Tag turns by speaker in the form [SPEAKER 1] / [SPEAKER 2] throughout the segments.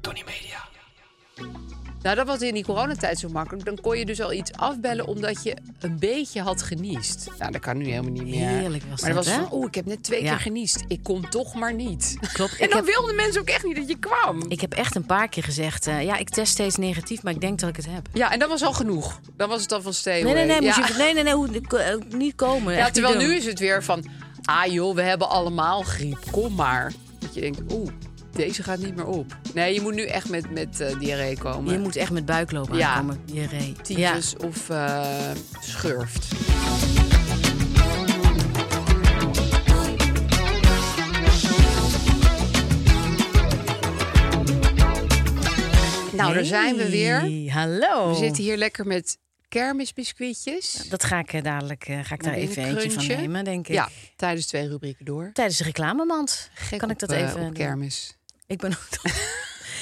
[SPEAKER 1] Tony Media.
[SPEAKER 2] Nou, dat was in die coronatijd zo makkelijk. Dan kon je dus al iets afbellen omdat je een beetje had geniest. Nou, dat kan nu helemaal niet meer.
[SPEAKER 3] Heerlijk was
[SPEAKER 2] maar
[SPEAKER 3] dat,
[SPEAKER 2] was
[SPEAKER 3] hè?
[SPEAKER 2] van, oeh, ik heb net twee
[SPEAKER 3] Ja.
[SPEAKER 2] keer geniest. Ik kom toch maar niet.
[SPEAKER 3] Klopt,
[SPEAKER 2] En
[SPEAKER 3] ik
[SPEAKER 2] dan
[SPEAKER 3] heb-
[SPEAKER 2] wilden mensen ook echt niet dat je kwam.
[SPEAKER 3] Ik heb echt een paar keer gezegd, eh, ja, ik test steeds negatief, maar ik denk dat ik het heb.
[SPEAKER 2] Ja, en dat was al genoeg. Dan was het al van stevig.
[SPEAKER 3] Nee, nee, nee,
[SPEAKER 2] ja.
[SPEAKER 3] moet je, nee, nee, nee hoe, ik- eh, niet komen. echt
[SPEAKER 2] ja,
[SPEAKER 3] niet
[SPEAKER 2] terwijl
[SPEAKER 3] doen.
[SPEAKER 2] nu is het weer van, ah joh, we hebben allemaal griep. Kom maar. Dat je denkt, oeh, deze gaat niet meer op. Nee, je moet nu echt met, met eh, diarree komen.
[SPEAKER 3] Je moet echt met buikloop
[SPEAKER 2] Ja.
[SPEAKER 3] aankomen. Je reet.
[SPEAKER 2] tyfus of eh, schurft. Nou, daar zijn we weer.
[SPEAKER 3] Hey, Hallo.
[SPEAKER 2] We zitten hier lekker met kermisbiscuitjes.
[SPEAKER 3] Dat ga ik eh, dadelijk, eh, ga ik daar
[SPEAKER 2] Een
[SPEAKER 3] even eentje van
[SPEAKER 2] crunchje.
[SPEAKER 3] nemen, denk ik.
[SPEAKER 2] Ja, tijdens twee rubrieken door.
[SPEAKER 3] Tijdens de reclamemand.
[SPEAKER 2] Gek
[SPEAKER 3] kan
[SPEAKER 2] op,
[SPEAKER 3] ik dat
[SPEAKER 2] eh,
[SPEAKER 3] even
[SPEAKER 2] op
[SPEAKER 3] doen?
[SPEAKER 2] kermis.
[SPEAKER 3] Ik ben ook.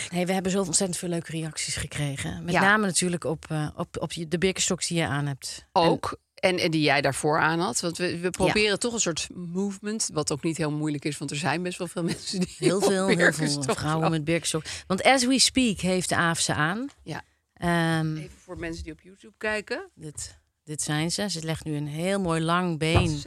[SPEAKER 3] Hey, we hebben zo ontzettend veel leuke reacties gekregen. Met
[SPEAKER 2] Ja.
[SPEAKER 3] name natuurlijk op, eh, op, op je- de birkenstok die je aan hebt.
[SPEAKER 2] Ook. En, en die jij daarvoor aan had. Want we, we proberen toch een soort movement. Wat ook niet heel moeilijk is. Want er zijn best wel veel mensen die.
[SPEAKER 3] Heel
[SPEAKER 2] op
[SPEAKER 3] veel, heel veel
[SPEAKER 2] Birkenstock
[SPEAKER 3] vrouwen
[SPEAKER 2] lopen.
[SPEAKER 3] met birkenstok. Want as we speak heeft de AAF ze aan.
[SPEAKER 2] Ja.
[SPEAKER 3] Ehm,
[SPEAKER 2] Even voor mensen die op YouTube kijken.
[SPEAKER 3] dit, dit zijn ze. Ze legt nu een heel mooi lang been.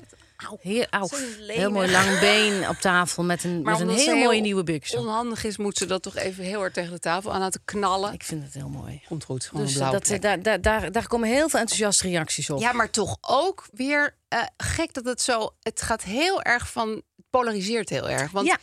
[SPEAKER 3] Heel, au,
[SPEAKER 2] ontzettend lenig.
[SPEAKER 3] heel mooi lang been op tafel met een, met een
[SPEAKER 2] omdat ze
[SPEAKER 3] heel mooie nieuwe birkenstok.
[SPEAKER 2] onhandig is, moet ze dat toch even heel hard tegen de tafel aan laten knallen.
[SPEAKER 3] Ik vind het heel mooi.
[SPEAKER 2] Komt goed, gewoon
[SPEAKER 3] Dus
[SPEAKER 2] een
[SPEAKER 3] eh,
[SPEAKER 2] blauwe
[SPEAKER 3] dat, eh,
[SPEAKER 2] plek.
[SPEAKER 3] daar, daar, daar, daar komen heel veel enthousiaste reacties op.
[SPEAKER 2] Ja, maar toch ook weer eh, gek dat het zo... Het gaat heel erg van... Het polariseert heel erg. Want
[SPEAKER 3] Ja.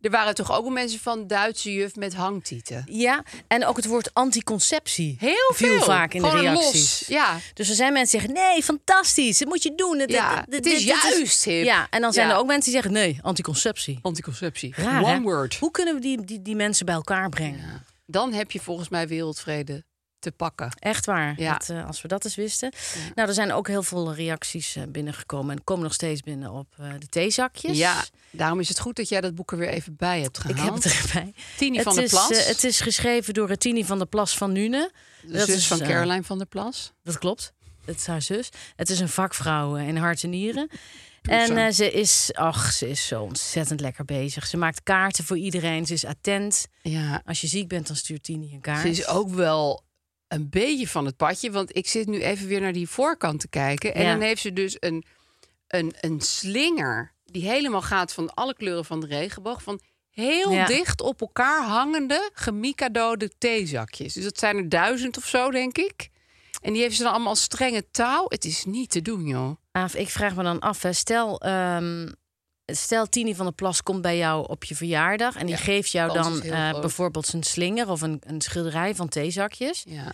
[SPEAKER 2] er waren toch ook wel mensen van Duitse juf met hangtieten.
[SPEAKER 3] Ja, en ook het woord anticonceptie
[SPEAKER 2] Heel
[SPEAKER 3] viel
[SPEAKER 2] veel.
[SPEAKER 3] vaak in de
[SPEAKER 2] Gewoon los,
[SPEAKER 3] reacties.
[SPEAKER 2] ja.
[SPEAKER 3] Dus er zijn mensen die zeggen: nee, fantastisch, dat moet je doen. Dit-
[SPEAKER 2] Ja,
[SPEAKER 3] dit- dit-
[SPEAKER 2] het is
[SPEAKER 3] dit
[SPEAKER 2] juist hip.
[SPEAKER 3] Ja, en dan zijn
[SPEAKER 2] Ja.
[SPEAKER 3] er ook mensen die zeggen: nee, anticonceptie.
[SPEAKER 2] Anticonceptie.
[SPEAKER 3] Raar,
[SPEAKER 2] One
[SPEAKER 3] hè?
[SPEAKER 2] word.
[SPEAKER 3] Hoe kunnen we die, die, die mensen bij elkaar brengen?
[SPEAKER 2] Dan heb je volgens mij wereldvrede te pakken.
[SPEAKER 3] Echt waar,
[SPEAKER 2] Ja.
[SPEAKER 3] dat, eh, als we dat eens wisten. Nou, er zijn ook heel veel reacties eh, binnengekomen. En komen nog steeds binnen op eh, de theezakjes.
[SPEAKER 2] Ja, daarom is het goed dat jij dat boek er weer even bij hebt
[SPEAKER 3] Ik
[SPEAKER 2] gehaald.
[SPEAKER 3] heb het erbij.
[SPEAKER 2] Tini
[SPEAKER 3] het
[SPEAKER 2] van der
[SPEAKER 3] is,
[SPEAKER 2] Plas.
[SPEAKER 3] eh, het is geschreven door Tini van der Plas van Nune.
[SPEAKER 2] De zus van
[SPEAKER 3] eh,
[SPEAKER 2] Caroline van der Plas.
[SPEAKER 3] Dat klopt. Het is haar zus. Het is een vakvrouw eh, in hart en nieren. En
[SPEAKER 2] zo.
[SPEAKER 3] eh, ze is, ach, ze is zo ontzettend lekker bezig. Ze maakt kaarten voor iedereen. Ze is attent.
[SPEAKER 2] Ja,
[SPEAKER 3] Als je ziek bent, dan stuurt Tini een kaart.
[SPEAKER 2] Ze is ook wel een beetje van het padje. Want ik zit nu even weer naar die voorkant te kijken. En
[SPEAKER 3] Ja.
[SPEAKER 2] dan heeft ze dus een, een, een slinger die helemaal gaat van alle kleuren van de regenboog. Van heel
[SPEAKER 3] Ja.
[SPEAKER 2] dicht op elkaar hangende gemikadode theezakjes. Dus dat zijn er duizend of zo, denk ik. En die heeft ze dan allemaal als strenge touw. Het is niet te doen, joh.
[SPEAKER 3] Aaf, Ah, ik vraag me dan af, hè. stel, ehm, stel Tini van der Plas komt bij jou op je verjaardag en die
[SPEAKER 2] Ja,
[SPEAKER 3] geeft jou
[SPEAKER 2] kans is
[SPEAKER 3] dan
[SPEAKER 2] heel
[SPEAKER 3] eh,
[SPEAKER 2] groot.
[SPEAKER 3] bijvoorbeeld een slinger of een, een schilderij van theezakjes.
[SPEAKER 2] Ja.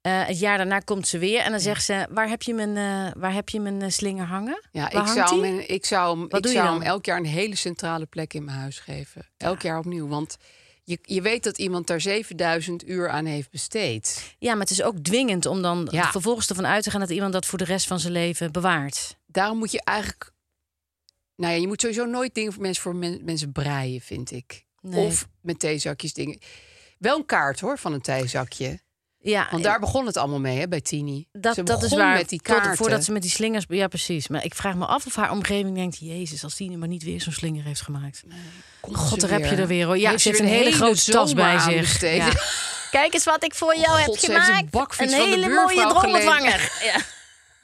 [SPEAKER 3] Eh, het jaar daarna komt ze weer en dan zegt ze: Waar heb je mijn, eh, waar heb je mijn eh, slinger hangen?
[SPEAKER 2] Ja,
[SPEAKER 3] Waar
[SPEAKER 2] ik
[SPEAKER 3] hangt
[SPEAKER 2] zou,
[SPEAKER 3] die?
[SPEAKER 2] hem, in- ik zou, hem,
[SPEAKER 3] Wat
[SPEAKER 2] ik
[SPEAKER 3] doe je
[SPEAKER 2] zou
[SPEAKER 3] dan?
[SPEAKER 2] hem elk jaar een hele centrale plek in mijn huis geven. Elk jaar opnieuw. Want je, je weet dat iemand daar 7000 uur aan heeft besteed.
[SPEAKER 3] Ja, maar het is ook dwingend om dan
[SPEAKER 2] Ja.
[SPEAKER 3] vervolgens ervan uit te gaan dat iemand dat voor de rest van zijn leven bewaart.
[SPEAKER 2] Daarom moet je eigenlijk. Nou ja, je moet sowieso nooit dingen voor mensen, voor men- mensen breien, vind ik.
[SPEAKER 3] Nee.
[SPEAKER 2] Of met theezakjes dingen. Wel een kaart hoor van een theezakje.
[SPEAKER 3] Ja,
[SPEAKER 2] Want
[SPEAKER 3] eh,
[SPEAKER 2] daar begon het allemaal mee, hè, bij Tini. Ze
[SPEAKER 3] dat, dat is
[SPEAKER 2] begon
[SPEAKER 3] waar.
[SPEAKER 2] Met die
[SPEAKER 3] Tot-
[SPEAKER 2] kaarten.
[SPEAKER 3] voordat ze met die slingers. Ja, precies. Maar ik vraag me af of haar omgeving denkt: Jezus, als Tini maar niet weer zo'n slinger heeft gemaakt.
[SPEAKER 2] Komt
[SPEAKER 3] God,
[SPEAKER 2] ze
[SPEAKER 3] daar heb je er weer hoor. Ja,
[SPEAKER 2] Heeft
[SPEAKER 3] ze heeft
[SPEAKER 2] er
[SPEAKER 3] een hele grote tas
[SPEAKER 2] zomer
[SPEAKER 3] bij
[SPEAKER 2] aan
[SPEAKER 3] zich.
[SPEAKER 2] besteed.
[SPEAKER 3] Ja. Kijk eens wat ik voor jou
[SPEAKER 2] God, ze heeft een bakfiets van de buurvrouw gelegen.
[SPEAKER 3] Ja.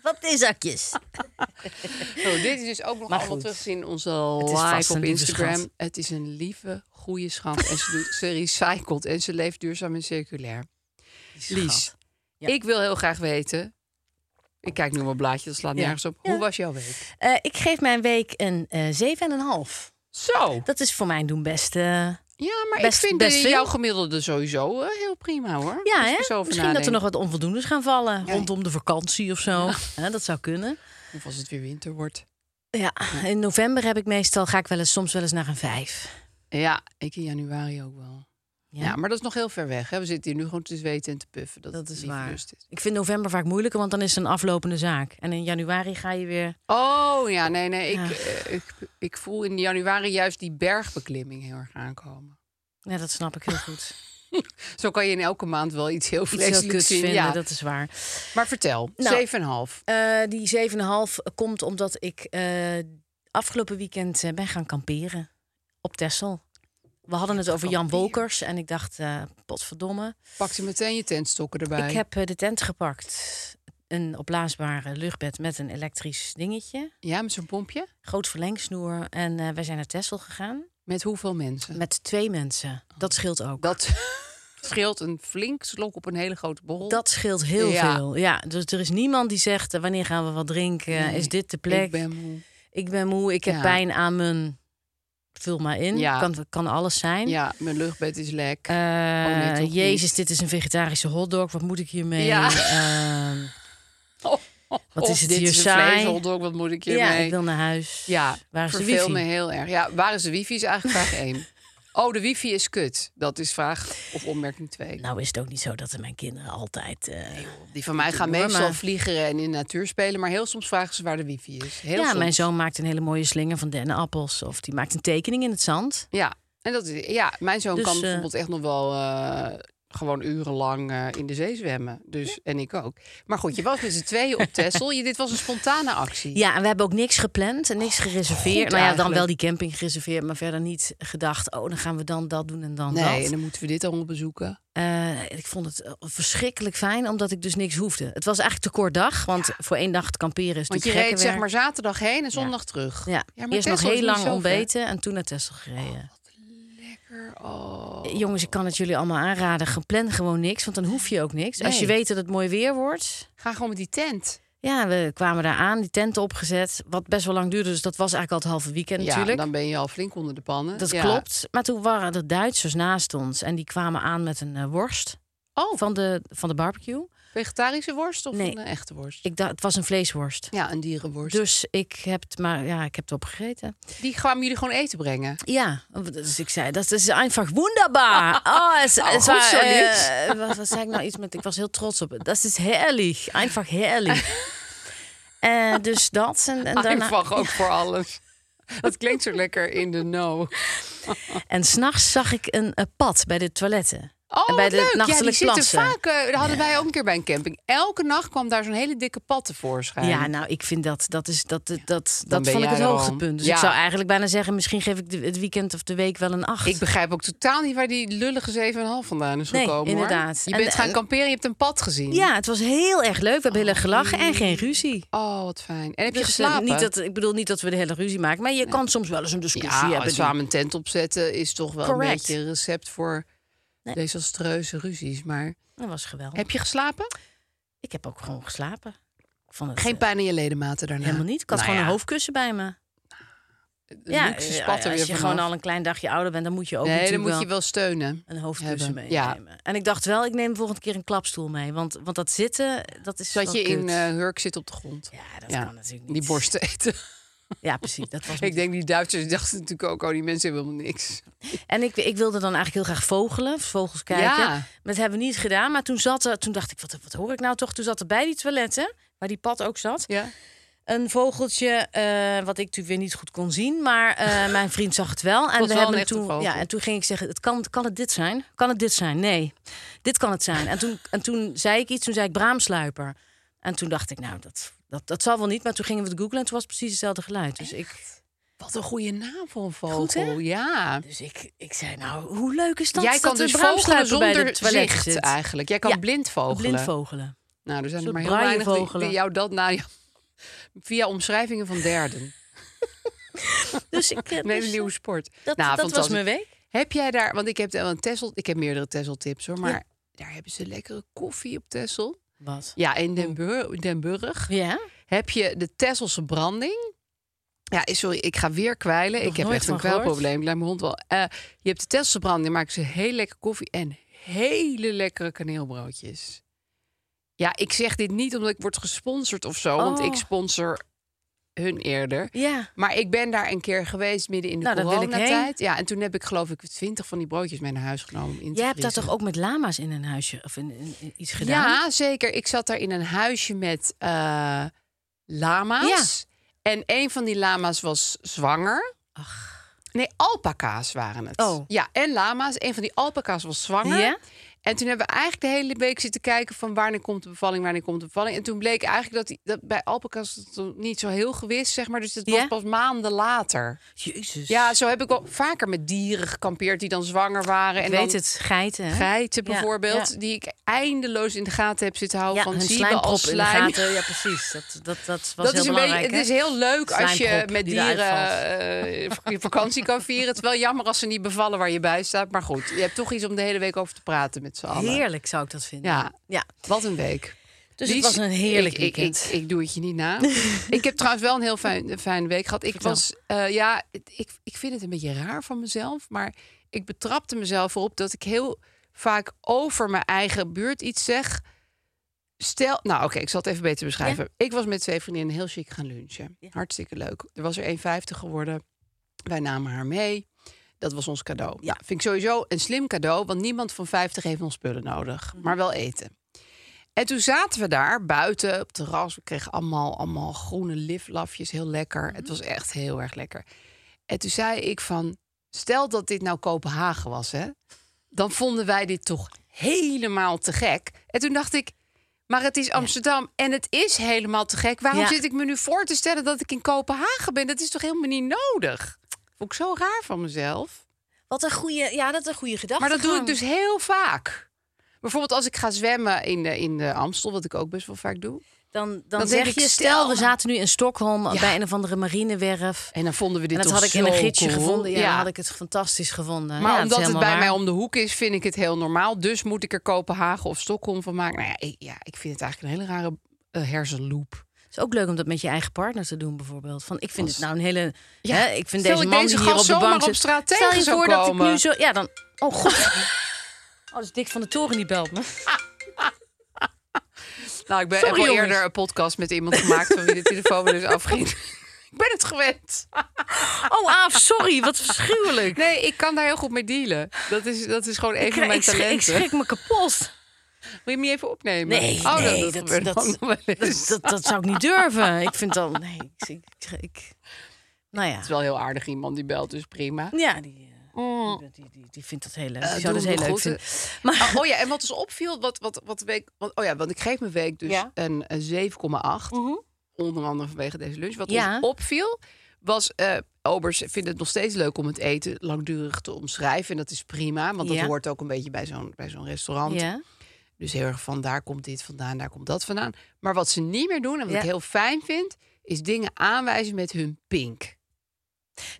[SPEAKER 3] Wat
[SPEAKER 2] Ah,
[SPEAKER 3] theezakjes.
[SPEAKER 2] Oh, dit is dus ook nog
[SPEAKER 3] Maar
[SPEAKER 2] allemaal
[SPEAKER 3] goed.
[SPEAKER 2] terug te zien in onze
[SPEAKER 3] Het is vast
[SPEAKER 2] live
[SPEAKER 3] een
[SPEAKER 2] op
[SPEAKER 3] lieve
[SPEAKER 2] Instagram.
[SPEAKER 3] schat.
[SPEAKER 2] Het is een lieve, goede schat. en ze, doet, ze recycelt en ze leeft duurzaam en circulair. Lies,
[SPEAKER 3] Ja.
[SPEAKER 2] ik wil heel graag weten... Ik kijk nu op mijn blaadje, dat slaat
[SPEAKER 3] Ja.
[SPEAKER 2] nergens op.
[SPEAKER 3] Ja.
[SPEAKER 2] Hoe was jouw week?
[SPEAKER 3] Eh, ik geef mijn week een eh 7,5.
[SPEAKER 2] Zo!
[SPEAKER 3] Dat is voor mijn doen best. eh,
[SPEAKER 2] Ja, maar
[SPEAKER 3] Best-
[SPEAKER 2] ik vind
[SPEAKER 3] best
[SPEAKER 2] eh,
[SPEAKER 3] veel.
[SPEAKER 2] jouw gemiddelde sowieso eh, heel prima hoor.
[SPEAKER 3] ja,
[SPEAKER 2] Als ik
[SPEAKER 3] hè?
[SPEAKER 2] er zo
[SPEAKER 3] Misschien
[SPEAKER 2] over
[SPEAKER 3] dat er
[SPEAKER 2] nadenk.
[SPEAKER 3] nog wat onvoldoendes gaan vallen.
[SPEAKER 2] Ja.
[SPEAKER 3] Rondom de vakantie of zo. Hè, dat zou kunnen.
[SPEAKER 2] Of als het weer winter wordt.
[SPEAKER 3] Ja, in november heb ik meestal, ga ik wel eens, soms wel eens naar een vijf.
[SPEAKER 2] Ja, ik in januari ook wel.
[SPEAKER 3] Ja.
[SPEAKER 2] Ja, maar dat is nog heel ver weg. Hè? We zitten hier nu gewoon te zweten en te puffen. Dat,
[SPEAKER 3] Dat
[SPEAKER 2] het
[SPEAKER 3] is
[SPEAKER 2] lieve
[SPEAKER 3] waar.
[SPEAKER 2] lust is.
[SPEAKER 3] Ik vind november vaak moeilijker, want dan is het een aflopende zaak. En in januari ga je weer.
[SPEAKER 2] Oh ja, nee, nee. Ik,
[SPEAKER 3] Ja.
[SPEAKER 2] eh, ik, ik voel in januari juist die bergbeklimming heel erg aankomen.
[SPEAKER 3] Ja, dat snap ik heel goed.
[SPEAKER 2] Zo kan je in elke maand wel iets heel
[SPEAKER 3] Iets heel
[SPEAKER 2] vleeselijks
[SPEAKER 3] kuts
[SPEAKER 2] zien.
[SPEAKER 3] vinden,
[SPEAKER 2] ja.
[SPEAKER 3] dat is waar.
[SPEAKER 2] Maar vertel,
[SPEAKER 3] Nou.
[SPEAKER 2] 7,5.
[SPEAKER 3] Eh, die 7,5 komt omdat ik eh, afgelopen weekend eh, ben gaan kamperen op Texel. We hadden het over Jan
[SPEAKER 2] kamperen.
[SPEAKER 3] Wolkers en ik dacht, eh, potverdomme.
[SPEAKER 2] Pakte meteen je tentstokken erbij.
[SPEAKER 3] Ik heb eh, de tent gepakt. Een opblaasbare luchtbed met een elektrisch dingetje.
[SPEAKER 2] Ja, met zo'n pompje?
[SPEAKER 3] Groot verlengsnoer. En eh, wij zijn naar Texel gegaan.
[SPEAKER 2] Met hoeveel mensen?
[SPEAKER 3] Met twee mensen. Dat scheelt ook.
[SPEAKER 2] Dat scheelt een flink slok op een hele grote borrel.
[SPEAKER 3] Dat scheelt heel
[SPEAKER 2] Ja.
[SPEAKER 3] veel. Ja, dus er is niemand die zegt: eh, wanneer gaan we wat drinken?
[SPEAKER 2] Nee,
[SPEAKER 3] Is dit de plek?
[SPEAKER 2] Ik ben moe.
[SPEAKER 3] Ik ben moe, ik heb
[SPEAKER 2] Ja.
[SPEAKER 3] pijn aan mijn. Vul maar in.
[SPEAKER 2] Ja.
[SPEAKER 3] Kan, kan alles zijn.
[SPEAKER 2] Ja, mijn luchtbed is lek.
[SPEAKER 3] Eh,
[SPEAKER 2] Oh, nee, toch
[SPEAKER 3] Jezus,
[SPEAKER 2] niet.
[SPEAKER 3] dit is een vegetarische hotdog. Wat moet ik hiermee?
[SPEAKER 2] Ja.
[SPEAKER 3] Ehm, wat
[SPEAKER 2] Of
[SPEAKER 3] is het
[SPEAKER 2] Oh, dit
[SPEAKER 3] hier
[SPEAKER 2] is een
[SPEAKER 3] saai?
[SPEAKER 2] vleeshotdog, wat moet ik
[SPEAKER 3] ja,
[SPEAKER 2] hiermee?
[SPEAKER 3] ik wil naar huis.
[SPEAKER 2] Ja,
[SPEAKER 3] waar is de
[SPEAKER 2] verveel
[SPEAKER 3] wifi?
[SPEAKER 2] me heel erg. Ja, waar is de wifi is eigenlijk vraag 1. Oh, de wifi is kut. Dat is vraag of opmerking 2.
[SPEAKER 3] Nou is het ook niet zo dat er mijn kinderen altijd. eh,
[SPEAKER 2] Die van mij gaan
[SPEAKER 3] doe maar.
[SPEAKER 2] meestal vliegen en in de natuur spelen, maar heel soms vragen ze waar de wifi is. Heel
[SPEAKER 3] ja,
[SPEAKER 2] soms.
[SPEAKER 3] mijn zoon maakt een hele mooie slinger van dennenappels. Of die maakt een tekening in het zand.
[SPEAKER 2] Ja, en dat is, ja mijn zoon
[SPEAKER 3] Dus,
[SPEAKER 2] kan
[SPEAKER 3] eh,
[SPEAKER 2] bijvoorbeeld echt nog wel eh, gewoon urenlang eh, in de zee zwemmen. Dus, en ik ook. Maar goed, je was met z'n tweeën op Texel. Je, dit was een spontane actie.
[SPEAKER 3] Ja, en we hebben ook niks gepland en niks gereserveerd. nou ja, dan
[SPEAKER 2] eigenlijk.
[SPEAKER 3] wel die camping gereserveerd, maar verder niet gedacht. Oh, dan gaan we dan dat doen en dan dat.
[SPEAKER 2] Nee, en dan moeten we dit allemaal bezoeken.
[SPEAKER 3] Eh, ik vond het eh, verschrikkelijk fijn, omdat ik dus niks hoefde. Het was eigenlijk te kort dag, want voor één dag te kamperen is
[SPEAKER 2] Want je
[SPEAKER 3] natuurlijk
[SPEAKER 2] reed zeg maar
[SPEAKER 3] gekkenwerk.
[SPEAKER 2] zaterdag heen en zondag terug.
[SPEAKER 3] Ja,
[SPEAKER 2] maar
[SPEAKER 3] eerst nog
[SPEAKER 2] Texel is
[SPEAKER 3] heel
[SPEAKER 2] niet zo
[SPEAKER 3] lang
[SPEAKER 2] ver. Oh,
[SPEAKER 3] ontbeten en toen naar Texel gereden.
[SPEAKER 2] Lekker. Oh.
[SPEAKER 3] Eh, Jongens, ik kan het jullie allemaal aanraden. Ge- Plan gewoon niks, want dan hoef je ook niks. Als je
[SPEAKER 2] Nee.
[SPEAKER 3] weet dat het mooi weer wordt.
[SPEAKER 2] Ga gewoon met die tent.
[SPEAKER 3] Ja, we kwamen daar aan, die tenten opgezet. Wat best wel lang duurde, dus dat was eigenlijk al het halve weekend
[SPEAKER 2] Ja,
[SPEAKER 3] natuurlijk.
[SPEAKER 2] dan ben je al flink onder de pannen.
[SPEAKER 3] Dat
[SPEAKER 2] Ja.
[SPEAKER 3] klopt. Maar toen waren er Duitsers naast ons en die kwamen aan met een eh, worst
[SPEAKER 2] Oh,
[SPEAKER 3] van de, van de barbecue.
[SPEAKER 2] vegetarische worst of
[SPEAKER 3] Nee.
[SPEAKER 2] een eh, echte worst?
[SPEAKER 3] Ik dacht, het was een vleesworst.
[SPEAKER 2] Ja, een dierenworst.
[SPEAKER 3] Dus ik heb het maar, ja, ik heb het opgegeten.
[SPEAKER 2] Die kwamen jullie gewoon eten brengen.
[SPEAKER 3] Ja, dus ik zei, dat is einfach wunderbar. Oh, het,
[SPEAKER 2] Oh,
[SPEAKER 3] het
[SPEAKER 2] goed
[SPEAKER 3] was,
[SPEAKER 2] zo,
[SPEAKER 3] eh, wat, wat zei ik nou iets met, ik was heel trots op het. Dat is heerlijk, einfach heerlijk. Eh dus dat en, en daarna.
[SPEAKER 2] Einfach ook voor alles. Dat klinkt zo lekker in de no.
[SPEAKER 3] En s'nachts zag ik een, eh, pad bij de toiletten. en bij
[SPEAKER 2] wat
[SPEAKER 3] de
[SPEAKER 2] leuk. ja, die
[SPEAKER 3] nachtelijk
[SPEAKER 2] zitten
[SPEAKER 3] plassen.
[SPEAKER 2] vaak. eh, dat hadden wij ook een keer bij een camping. Elke nacht kwam daar zo'n hele dikke pad tevoorschijn.
[SPEAKER 3] Ja, nou, ik vind dat, dat, is, dat, dat, dat,
[SPEAKER 2] ben
[SPEAKER 3] vond
[SPEAKER 2] jij
[SPEAKER 3] ik het
[SPEAKER 2] er al.
[SPEAKER 3] hoogtepunt. Dus
[SPEAKER 2] Ja.
[SPEAKER 3] ik zou eigenlijk bijna zeggen, misschien geef ik de- het weekend of de week wel een acht.
[SPEAKER 2] Ik begrijp ook totaal niet waar die lullige 7,5 vandaan is
[SPEAKER 3] Nee,
[SPEAKER 2] gekomen. hoor.
[SPEAKER 3] inderdaad.
[SPEAKER 2] Je
[SPEAKER 3] En-
[SPEAKER 2] bent gaan
[SPEAKER 3] en-
[SPEAKER 2] kamperen, je hebt een pad gezien.
[SPEAKER 3] Ja, het was heel erg leuk. We hebben heel erg gelachen en geen ruzie.
[SPEAKER 2] Oh, wat fijn. En Oh. heb je
[SPEAKER 3] Dus, eh,
[SPEAKER 2] geslapen?
[SPEAKER 3] niet dat, ik bedoel niet dat we de hele ruzie maken, maar je kan soms wel eens een discussie
[SPEAKER 2] Ja,
[SPEAKER 3] hebben. Dus die-
[SPEAKER 2] samen een tent opzetten is toch wel
[SPEAKER 3] Correct.
[SPEAKER 2] een beetje een recept voor
[SPEAKER 3] Nee.
[SPEAKER 2] desastreuze ruzies. Maar
[SPEAKER 3] Dat was geweldig.
[SPEAKER 2] heb je geslapen?
[SPEAKER 3] Ik heb ook gewoon geslapen. Ik vond het,
[SPEAKER 2] Geen
[SPEAKER 3] eh,
[SPEAKER 2] pijn in je ledematen daarna?
[SPEAKER 3] Helemaal niet. Ik had
[SPEAKER 2] Nou
[SPEAKER 3] gewoon
[SPEAKER 2] ja, Dus
[SPEAKER 3] een hoofdkussen bij me.
[SPEAKER 2] de luxe
[SPEAKER 3] eh,
[SPEAKER 2] spat er
[SPEAKER 3] als
[SPEAKER 2] weer
[SPEAKER 3] je gewoon
[SPEAKER 2] vanaf.
[SPEAKER 3] al een klein dagje ouder bent, dan moet je ook
[SPEAKER 2] Nee, dan
[SPEAKER 3] natuurlijk
[SPEAKER 2] moet je wel steunen.
[SPEAKER 3] een hoofdkussen
[SPEAKER 2] hebben. Ja.
[SPEAKER 3] meenemen. En ik dacht wel, ik neem de volgende keer een klapstoel mee. Want, want dat zitten, dat is
[SPEAKER 2] Zodat
[SPEAKER 3] wel
[SPEAKER 2] je in
[SPEAKER 3] kut.
[SPEAKER 2] eh, hurk zit op de grond.
[SPEAKER 3] Ja, dat kan natuurlijk niet.
[SPEAKER 2] Die borsten eten.
[SPEAKER 3] Ja, precies. Dat was
[SPEAKER 2] ik denk die Duitsers dachten natuurlijk ook, oh die mensen hebben helemaal niks.
[SPEAKER 3] En ik, ik wilde dan eigenlijk heel graag vogelen, vogels kijken.
[SPEAKER 2] Ja.
[SPEAKER 3] Maar dat hebben we niet gedaan. Maar toen zat er, toen dacht ik, wat, wat hoor ik nou toch? Toen zat er bij die toiletten, waar die pad ook zat,
[SPEAKER 2] Ja.
[SPEAKER 3] een vogeltje, eh, wat ik natuurlijk weer niet goed kon zien. Maar eh, mijn vriend zag het wel. En,
[SPEAKER 2] was wel een
[SPEAKER 3] hem
[SPEAKER 2] echte
[SPEAKER 3] toen,
[SPEAKER 2] vogel.
[SPEAKER 3] ja, en toen ging ik zeggen, het kan, kan het dit zijn? Kan het dit zijn? Nee, dit kan het zijn. En toen, en toen zei ik iets, toen zei ik braamsluiper. En toen dacht ik, nou, dat, dat, dat zal wel niet. Maar toen gingen we het googlen en toen was het precies hetzelfde geluid. Dus ik...
[SPEAKER 2] Wat een goede naam voor een vogel.
[SPEAKER 3] Goed, hè?
[SPEAKER 2] Ja.
[SPEAKER 3] Dus ik, ik zei, nou, hoe leuk is dat?
[SPEAKER 2] Jij kan
[SPEAKER 3] dat er
[SPEAKER 2] dus
[SPEAKER 3] braamsluiper
[SPEAKER 2] vogelen
[SPEAKER 3] bij de
[SPEAKER 2] zonder
[SPEAKER 3] toiletten
[SPEAKER 2] zicht
[SPEAKER 3] zit?
[SPEAKER 2] eigenlijk. Jij kan
[SPEAKER 3] Ja,
[SPEAKER 2] blind vogelen.
[SPEAKER 3] Blind vogelen.
[SPEAKER 2] Nou, er zijn er maar
[SPEAKER 3] soort
[SPEAKER 2] heel weinig die,
[SPEAKER 3] braaienvogelen.
[SPEAKER 2] die jou dat na via omschrijvingen van derden.
[SPEAKER 3] Dus ik, eh,
[SPEAKER 2] Nee,
[SPEAKER 3] dus
[SPEAKER 2] een nieuwe sport.
[SPEAKER 3] dat,
[SPEAKER 2] Nou,
[SPEAKER 3] dat was
[SPEAKER 2] fantastisch.
[SPEAKER 3] mijn week.
[SPEAKER 2] Heb jij daar, want ik heb wel een Tessel, ik heb meerdere Tessel tips hoor, maar daar hebben ze lekkere koffie op Tessel.
[SPEAKER 3] Wat?
[SPEAKER 2] Ja, in
[SPEAKER 3] Oh.
[SPEAKER 2] Den, Bur- in Den Burg
[SPEAKER 3] Ja?
[SPEAKER 2] heb je de Tesselse branding. Ja, sorry, ik ga weer kwijlen.
[SPEAKER 3] Nog
[SPEAKER 2] ik heb
[SPEAKER 3] nooit
[SPEAKER 2] echt een
[SPEAKER 3] van gehoord.
[SPEAKER 2] kwelprobleem. Ik laat mijn hond wel. Eh, je hebt de Tesselse branding, maken ze heel lekker koffie en hele lekkere kaneelbroodjes. Ja, ik zeg dit niet omdat ik word gesponsord of zo, want
[SPEAKER 3] Oh.
[SPEAKER 2] ik sponsor hun eerder.
[SPEAKER 3] Ja.
[SPEAKER 2] Maar ik ben daar een keer geweest midden in de
[SPEAKER 3] Nou, daar wil ik
[SPEAKER 2] coronatijd. Ja, en toen heb ik geloof ik 20 van die broodjes mee naar huis genomen. om in te
[SPEAKER 3] Jij hebt dat
[SPEAKER 2] vriezen.
[SPEAKER 3] toch ook met lama's in een huisje of in, in- in iets gedaan?
[SPEAKER 2] Ja, zeker. Ik zat daar in een huisje met eh, lama's. En een van die lama's was zwanger. Nee, alpaca's waren het.
[SPEAKER 3] Oh.
[SPEAKER 2] Ja, en lama's. Een van die alpaca's was zwanger.
[SPEAKER 3] Ja?
[SPEAKER 2] En toen hebben we eigenlijk de hele week zitten kijken van wanneer komt de bevalling, wanneer komt de bevalling. En toen bleek eigenlijk dat, die, dat bij alpaca's het nog niet zo heel gewist, zeg maar. Dus het was
[SPEAKER 3] Ja? Dus-
[SPEAKER 2] pas maanden later.
[SPEAKER 3] Jezus.
[SPEAKER 2] Ja, zo heb ik wel vaker met dieren gekampeerd die dan zwanger waren. En
[SPEAKER 3] ik weet
[SPEAKER 2] dan
[SPEAKER 3] het, geiten. hè?
[SPEAKER 2] Geiten
[SPEAKER 3] Ja,
[SPEAKER 2] bijvoorbeeld,
[SPEAKER 3] ja.
[SPEAKER 2] die ik eindeloos in de gaten heb zitten houden.
[SPEAKER 3] Ja,
[SPEAKER 2] van
[SPEAKER 3] hun
[SPEAKER 2] zie je wel
[SPEAKER 3] slijmprop
[SPEAKER 2] als
[SPEAKER 3] in de
[SPEAKER 2] slijm.
[SPEAKER 3] gaten. Ja, precies. Dat, dat, dat was
[SPEAKER 2] Dat
[SPEAKER 3] heel
[SPEAKER 2] is een beetje,
[SPEAKER 3] belangrijk.
[SPEAKER 2] het
[SPEAKER 3] hè?
[SPEAKER 2] is heel leuk als je
[SPEAKER 3] Slijmprop
[SPEAKER 2] met
[SPEAKER 3] die eruit
[SPEAKER 2] dieren
[SPEAKER 3] valt.
[SPEAKER 2] eh, je vakantie kan vieren. Het is wel jammer als ze niet bevallen waar je bij staat. Maar goed, je hebt toch iets om de hele week over te praten met z'n allen.
[SPEAKER 3] Heerlijk zou ik dat vinden.
[SPEAKER 2] Ja.
[SPEAKER 3] ja.
[SPEAKER 2] Wat een week.
[SPEAKER 3] Dus
[SPEAKER 2] Lies,
[SPEAKER 3] het was een heerlijk
[SPEAKER 2] ik, ik-
[SPEAKER 3] weekend.
[SPEAKER 2] Ik, ik, doe het je niet na. ik heb trouwens wel een heel fijn, een fijne week gehad. Ik
[SPEAKER 3] Vertel.
[SPEAKER 2] was, eh, ja, het- ik, ik vind het een beetje raar van mezelf. Maar ik betrapte mezelf erop dat ik heel vaak over mijn eigen buurt iets zeg. Stel, nou oké, ik zal het even beter beschrijven. Ik was met twee vriendinnen heel chic gaan lunchen. Hartstikke leuk. Er was er 1,50 geworden. Wij namen haar mee. Dat was ons cadeau. Nou, vind ik sowieso een slim cadeau, want niemand van 50 heeft ons spullen nodig,
[SPEAKER 3] Mhm.
[SPEAKER 2] maar wel eten. En toen zaten we daar buiten op het terras. We kregen allemaal, allemaal groene liflafjes, heel lekker. Het was echt heel erg lekker. En toen zei ik van, stel dat dit nou Kopenhagen was, hè? Dan vonden wij dit toch helemaal te gek. En toen dacht ik, maar het is Amsterdam en het is helemaal te gek. Waarom
[SPEAKER 3] Ja.
[SPEAKER 2] zit ik me nu voor te stellen dat ik in Kopenhagen ben? Dat is toch helemaal niet nodig? Vond ik zo raar van mezelf.
[SPEAKER 3] Wat een goede, ja, dat een goede gedachte.
[SPEAKER 2] Maar dat doe ik dus heel vaak. Bijvoorbeeld als ik ga zwemmen in de, in de Amstel, wat ik ook best wel vaak doe.
[SPEAKER 3] Dan, dan,
[SPEAKER 2] denk
[SPEAKER 3] zeg
[SPEAKER 2] ik, stel-
[SPEAKER 3] je, stel we zaten nu in Stockholm
[SPEAKER 2] Ja.
[SPEAKER 3] bij een of andere marinewerf.
[SPEAKER 2] En dan vonden we dit
[SPEAKER 3] En dat
[SPEAKER 2] toch
[SPEAKER 3] had ik in een
[SPEAKER 2] zo
[SPEAKER 3] gidsje
[SPEAKER 2] cool.
[SPEAKER 3] gevonden. Ja, dan had ik het fantastisch gevonden.
[SPEAKER 2] Maar
[SPEAKER 3] Ja,
[SPEAKER 2] omdat
[SPEAKER 3] is
[SPEAKER 2] het bij
[SPEAKER 3] helemaal
[SPEAKER 2] mij
[SPEAKER 3] waar.
[SPEAKER 2] om de hoek is, vind ik het heel normaal. Dus moet ik er Kopenhagen of Stockholm van maken. Nou ja, ik, ja, ik vind het eigenlijk een hele rare eh, hersenloop.
[SPEAKER 3] Het is ook leuk om dat met je eigen partner te doen, bijvoorbeeld. Van, ik vind
[SPEAKER 2] Als-
[SPEAKER 3] het nou een hele...
[SPEAKER 2] Ja,
[SPEAKER 3] hè, ik vind
[SPEAKER 2] stel
[SPEAKER 3] deze
[SPEAKER 2] ik
[SPEAKER 3] man
[SPEAKER 2] deze
[SPEAKER 3] die
[SPEAKER 2] gast
[SPEAKER 3] hier op de
[SPEAKER 2] zomaar
[SPEAKER 3] bank
[SPEAKER 2] op
[SPEAKER 3] zit-
[SPEAKER 2] straat
[SPEAKER 3] Stel
[SPEAKER 2] tegen
[SPEAKER 3] je
[SPEAKER 2] zou
[SPEAKER 3] voor dat ik nu
[SPEAKER 2] komen.
[SPEAKER 3] zo... Ja, dan... Oh, god. oh, dus Dick van de Toren die belt me.
[SPEAKER 2] Nou, ik ben
[SPEAKER 3] Sorry,
[SPEAKER 2] heb al
[SPEAKER 3] jongens.
[SPEAKER 2] eerder een podcast met iemand gemaakt van wie de telefoon dus afging. ik ben het gewend.
[SPEAKER 3] Oh, Aaf, sorry. Wat verschuwelijk.
[SPEAKER 2] Nee, ik kan daar heel goed mee dealen. Dat is, dat is gewoon een
[SPEAKER 3] ik,
[SPEAKER 2] van mijn
[SPEAKER 3] ik, schrik, ik
[SPEAKER 2] talenten.
[SPEAKER 3] schrik me kapot.
[SPEAKER 2] Wil je me even opnemen?
[SPEAKER 3] Nee,
[SPEAKER 2] oh,
[SPEAKER 3] nee,
[SPEAKER 2] dat,
[SPEAKER 3] dat-
[SPEAKER 2] gebeurt
[SPEAKER 3] dat-
[SPEAKER 2] ook nog wel eens.
[SPEAKER 3] Dat, dat, dat zou ik niet durven. Ik vind dan... Nee, ik... ik, ik- nou ja.
[SPEAKER 2] Het is wel heel aardig iemand die belt, dus prima.
[SPEAKER 3] Ja, die, eh, die, die, die, die vindt dat heel leuk.
[SPEAKER 2] Mm.
[SPEAKER 3] Die
[SPEAKER 2] Eh, doe
[SPEAKER 3] zou dat
[SPEAKER 2] hem
[SPEAKER 3] heel
[SPEAKER 2] de
[SPEAKER 3] leuk
[SPEAKER 2] groeten.
[SPEAKER 3] vinden. Maar
[SPEAKER 2] Oh, oh ja, en wat dus opviel, wat, wat, wat de week, want, oh ja, want ik geef mijn week dus
[SPEAKER 3] Ja. Mhm.
[SPEAKER 2] een, een 7,8. Onder andere vanwege deze lunch. Wat
[SPEAKER 3] Ja.
[SPEAKER 2] ons opviel was, eh, obers vinden het nog steeds leuk om het eten langdurig te omschrijven. En dat is prima, want dat
[SPEAKER 3] Ja.
[SPEAKER 2] hoort ook een beetje bij zo'n, bij zo'n restaurant.
[SPEAKER 3] ja,
[SPEAKER 2] Dus heel erg van daar komt dit vandaan, daar komt dat vandaan. Maar wat ze niet meer doen, en wat
[SPEAKER 3] Ja.
[SPEAKER 2] ik heel fijn vind, is dingen aanwijzen met hun pink.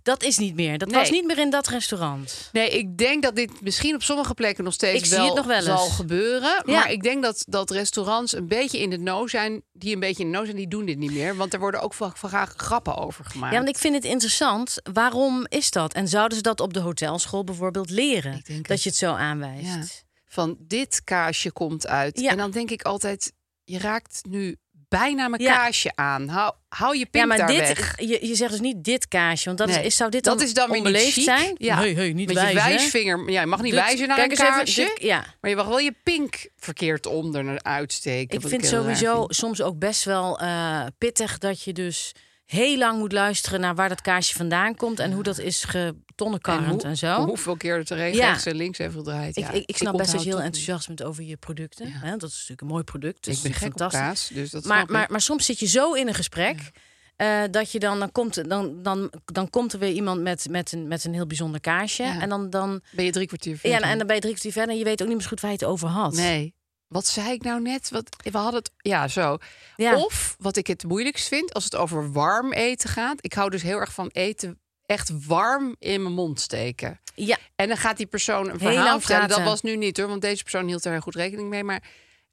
[SPEAKER 3] dat is niet meer. Dat
[SPEAKER 2] Nee.
[SPEAKER 3] was niet meer in dat restaurant.
[SPEAKER 2] Nee, ik denk dat dit misschien op sommige plekken nog steeds
[SPEAKER 3] Ik zie
[SPEAKER 2] wel,
[SPEAKER 3] het nog wel eens.
[SPEAKER 2] zal gebeuren.
[SPEAKER 3] Ja.
[SPEAKER 2] Maar ik denk dat, dat restaurants een beetje in de no zijn. Die een beetje in de no zijn, die doen dit niet meer. Want er worden ook vaak vaak grappen over gemaakt.
[SPEAKER 3] Ja, want ik vind het interessant. Waarom is dat? En zouden ze dat op de hotelschool bijvoorbeeld leren?
[SPEAKER 2] Ik denk
[SPEAKER 3] dat
[SPEAKER 2] het.
[SPEAKER 3] je het zo aanwijst.
[SPEAKER 2] Ja. Van dit kaasje komt uit.
[SPEAKER 3] Ja.
[SPEAKER 2] En dan denk ik altijd, je raakt nu bijna mijn
[SPEAKER 3] Ja.
[SPEAKER 2] kaasje aan. Hou, hou je pink
[SPEAKER 3] Ja, maar
[SPEAKER 2] daar
[SPEAKER 3] dit,
[SPEAKER 2] weg.
[SPEAKER 3] je, je zegt dus niet dit kaasje, want dat
[SPEAKER 2] Nee,
[SPEAKER 3] is, is, zou dit
[SPEAKER 2] dat
[SPEAKER 3] dan,
[SPEAKER 2] is dan weer niet
[SPEAKER 3] onbeleefd
[SPEAKER 2] chic.
[SPEAKER 3] zijn?
[SPEAKER 2] Ja.
[SPEAKER 3] Hey, hey, niet
[SPEAKER 2] Met je
[SPEAKER 3] wijzen, hè?
[SPEAKER 2] wijsvinger. Ja, je mag niet
[SPEAKER 3] Dit-
[SPEAKER 2] wijzen naar
[SPEAKER 3] kijk
[SPEAKER 2] een
[SPEAKER 3] eens even,
[SPEAKER 2] kaasje.
[SPEAKER 3] dit- ja.
[SPEAKER 2] Maar je mag wel je pink verkeerd onder naar uitsteken.
[SPEAKER 3] Ik
[SPEAKER 2] wat
[SPEAKER 3] vind
[SPEAKER 2] heel raar
[SPEAKER 3] sowieso
[SPEAKER 2] vind.
[SPEAKER 3] soms ook best wel eh, pittig dat je dus heel lang moet luisteren naar waar dat kaasje vandaan komt en hoe dat is
[SPEAKER 2] En
[SPEAKER 3] getonnenkarrend en,
[SPEAKER 2] hoe-
[SPEAKER 3] zo.
[SPEAKER 2] Hoeveel keer het er rechts,
[SPEAKER 3] Ja.
[SPEAKER 2] rechts en links heeft gedraaid. Ja,
[SPEAKER 3] ik, ik, ik snap best dat je
[SPEAKER 2] onthoud
[SPEAKER 3] heel
[SPEAKER 2] toch
[SPEAKER 3] enthousiast bent over je producten. Hè? Dat is natuurlijk een mooi product. Dus
[SPEAKER 2] niet. Ik ben gek op
[SPEAKER 3] fantastisch.
[SPEAKER 2] kaas, dus dat
[SPEAKER 3] maar,
[SPEAKER 2] snap
[SPEAKER 3] maar,
[SPEAKER 2] ik.
[SPEAKER 3] maar soms zit je zo in een gesprek. eh, dat je dan, dan, komt, dan, dan, dan komt er weer iemand met, met, een, met een heel bijzonder kaasje.
[SPEAKER 2] Ja.
[SPEAKER 3] En dan, dan,
[SPEAKER 2] Ben je drie kwartier
[SPEAKER 3] ja,
[SPEAKER 2] verder?
[SPEAKER 3] en dan ben je drie kwartier verder en je weet ook niet meer zo goed waar je het over had.
[SPEAKER 2] Nee. wat zei ik nou net? Wat, we hadden het, ja, zo.
[SPEAKER 3] Ja.
[SPEAKER 2] Of, wat ik het moeilijkst vind, als het over warm eten gaat. Ik hou dus heel erg van eten echt warm in mijn mond steken.
[SPEAKER 3] Ja,
[SPEAKER 2] En dan gaat die persoon een
[SPEAKER 3] Heel
[SPEAKER 2] verhaal
[SPEAKER 3] lang
[SPEAKER 2] vertellen. Dat
[SPEAKER 3] praten.
[SPEAKER 2] was nu niet hoor, want deze persoon hield er heel goed rekening mee. Maar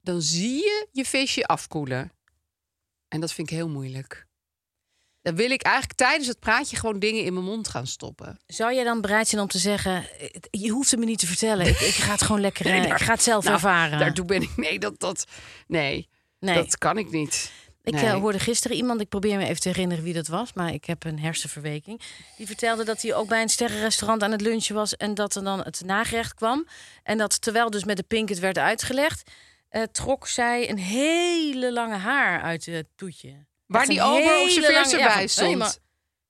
[SPEAKER 2] dan zie je je visje afkoelen. En dat vind ik heel moeilijk. Dan wil ik eigenlijk tijdens het praatje gewoon dingen in mijn mond gaan stoppen.
[SPEAKER 3] zou jij dan bereid zijn om te zeggen... "Het- je hoeft het me niet te vertellen. Ik, ik ga het gewoon lekker... eh,
[SPEAKER 2] daar-
[SPEAKER 3] ik ga het zelf
[SPEAKER 2] Nou,
[SPEAKER 3] ervaren.
[SPEAKER 2] Daartoe ben ik. Nee, dat, dat, nee,
[SPEAKER 3] nee.
[SPEAKER 2] dat kan ik niet.
[SPEAKER 3] Ik
[SPEAKER 2] Nee.
[SPEAKER 3] eh, hoorde gisteren iemand, ik probeer me even te herinneren wie dat was, maar ik heb een hersenverweking. Die vertelde dat hij ook bij een sterrenrestaurant aan het lunchen was en dat er dan het nagerecht kwam. En dat terwijl dus met de pink het werd uitgelegd, eh, trok zij een hele lange haar uit het toetje.
[SPEAKER 2] Waar
[SPEAKER 3] Echt
[SPEAKER 2] die
[SPEAKER 3] een
[SPEAKER 2] ober
[SPEAKER 3] hele
[SPEAKER 2] op zijn vingers
[SPEAKER 3] lange- ja,
[SPEAKER 2] erbij
[SPEAKER 3] van, "Hey, maar
[SPEAKER 2] stond.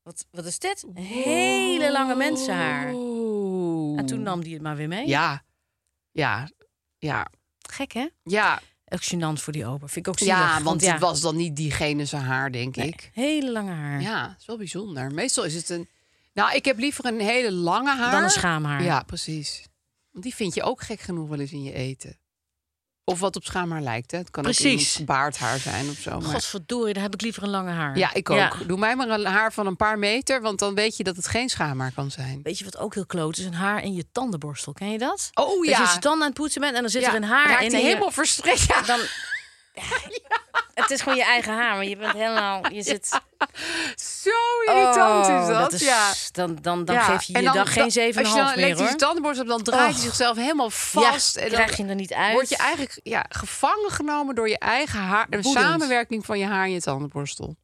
[SPEAKER 3] wat, wat is dit? Een hele lange mensenhaar.
[SPEAKER 2] Oeh.
[SPEAKER 3] En toen nam hij het maar weer mee.
[SPEAKER 2] Ja, ja, ja,
[SPEAKER 3] Gek hè?
[SPEAKER 2] ja.
[SPEAKER 3] Ook gênant voor die ober. Vind ik ook zielig.
[SPEAKER 2] Ja, want,
[SPEAKER 3] ja,
[SPEAKER 2] het was dan niet diegene zijn haar, denk
[SPEAKER 3] nee,
[SPEAKER 2] ik.
[SPEAKER 3] Hele lange haar.
[SPEAKER 2] Ja, het is wel bijzonder. Meestal is het een... Nou, ik heb liever een hele lange haar.
[SPEAKER 3] Dan een schaamhaar.
[SPEAKER 2] Ja, precies. Want die vind je ook gek genoeg wel eens in je eten. Of wat op schaamhaar lijkt, hè. Het kan ook
[SPEAKER 3] Precies.
[SPEAKER 2] iemands baardhaar zijn of zo. Maar...
[SPEAKER 3] Godverdorie, dan heb ik liever een lange haar.
[SPEAKER 2] Ja, ik ook. Doe mij maar een haar van een paar meter, want dan weet je dat het geen schaamhaar kan zijn.
[SPEAKER 3] Weet je wat ook heel kloot is? Een haar in je tandenborstel. Ken je dat?
[SPEAKER 2] Oh ja.
[SPEAKER 3] Dat je je tanden aan Dus het poetsen bent en dan zit
[SPEAKER 2] Ja,
[SPEAKER 3] er een haar
[SPEAKER 2] raakt
[SPEAKER 3] in.
[SPEAKER 2] die
[SPEAKER 3] en je-
[SPEAKER 2] helemaal verstrikt. Ja.
[SPEAKER 3] Dan... Het is gewoon je eigen haar, maar je bent helemaal... Je zit...
[SPEAKER 2] Zo irritant
[SPEAKER 3] Oh,
[SPEAKER 2] is dat.
[SPEAKER 3] is-
[SPEAKER 2] ja.
[SPEAKER 3] Dan, dan, dan
[SPEAKER 2] Ja,
[SPEAKER 3] geef je
[SPEAKER 2] en
[SPEAKER 3] je
[SPEAKER 2] dan
[SPEAKER 3] dan,
[SPEAKER 2] da-
[SPEAKER 3] geen 7,5 meer, hoor.
[SPEAKER 2] Als je dan elektrische tandenborstel hebt, dan draait hij
[SPEAKER 3] Och.
[SPEAKER 2] zichzelf helemaal vast.
[SPEAKER 3] Ja,
[SPEAKER 2] en dan
[SPEAKER 3] krijg je er niet uit.
[SPEAKER 2] Word je eigenlijk ja, gevangen genomen door je eigen haar. Een
[SPEAKER 3] Woedend.
[SPEAKER 2] samenwerking van je haar en je tandenborstel.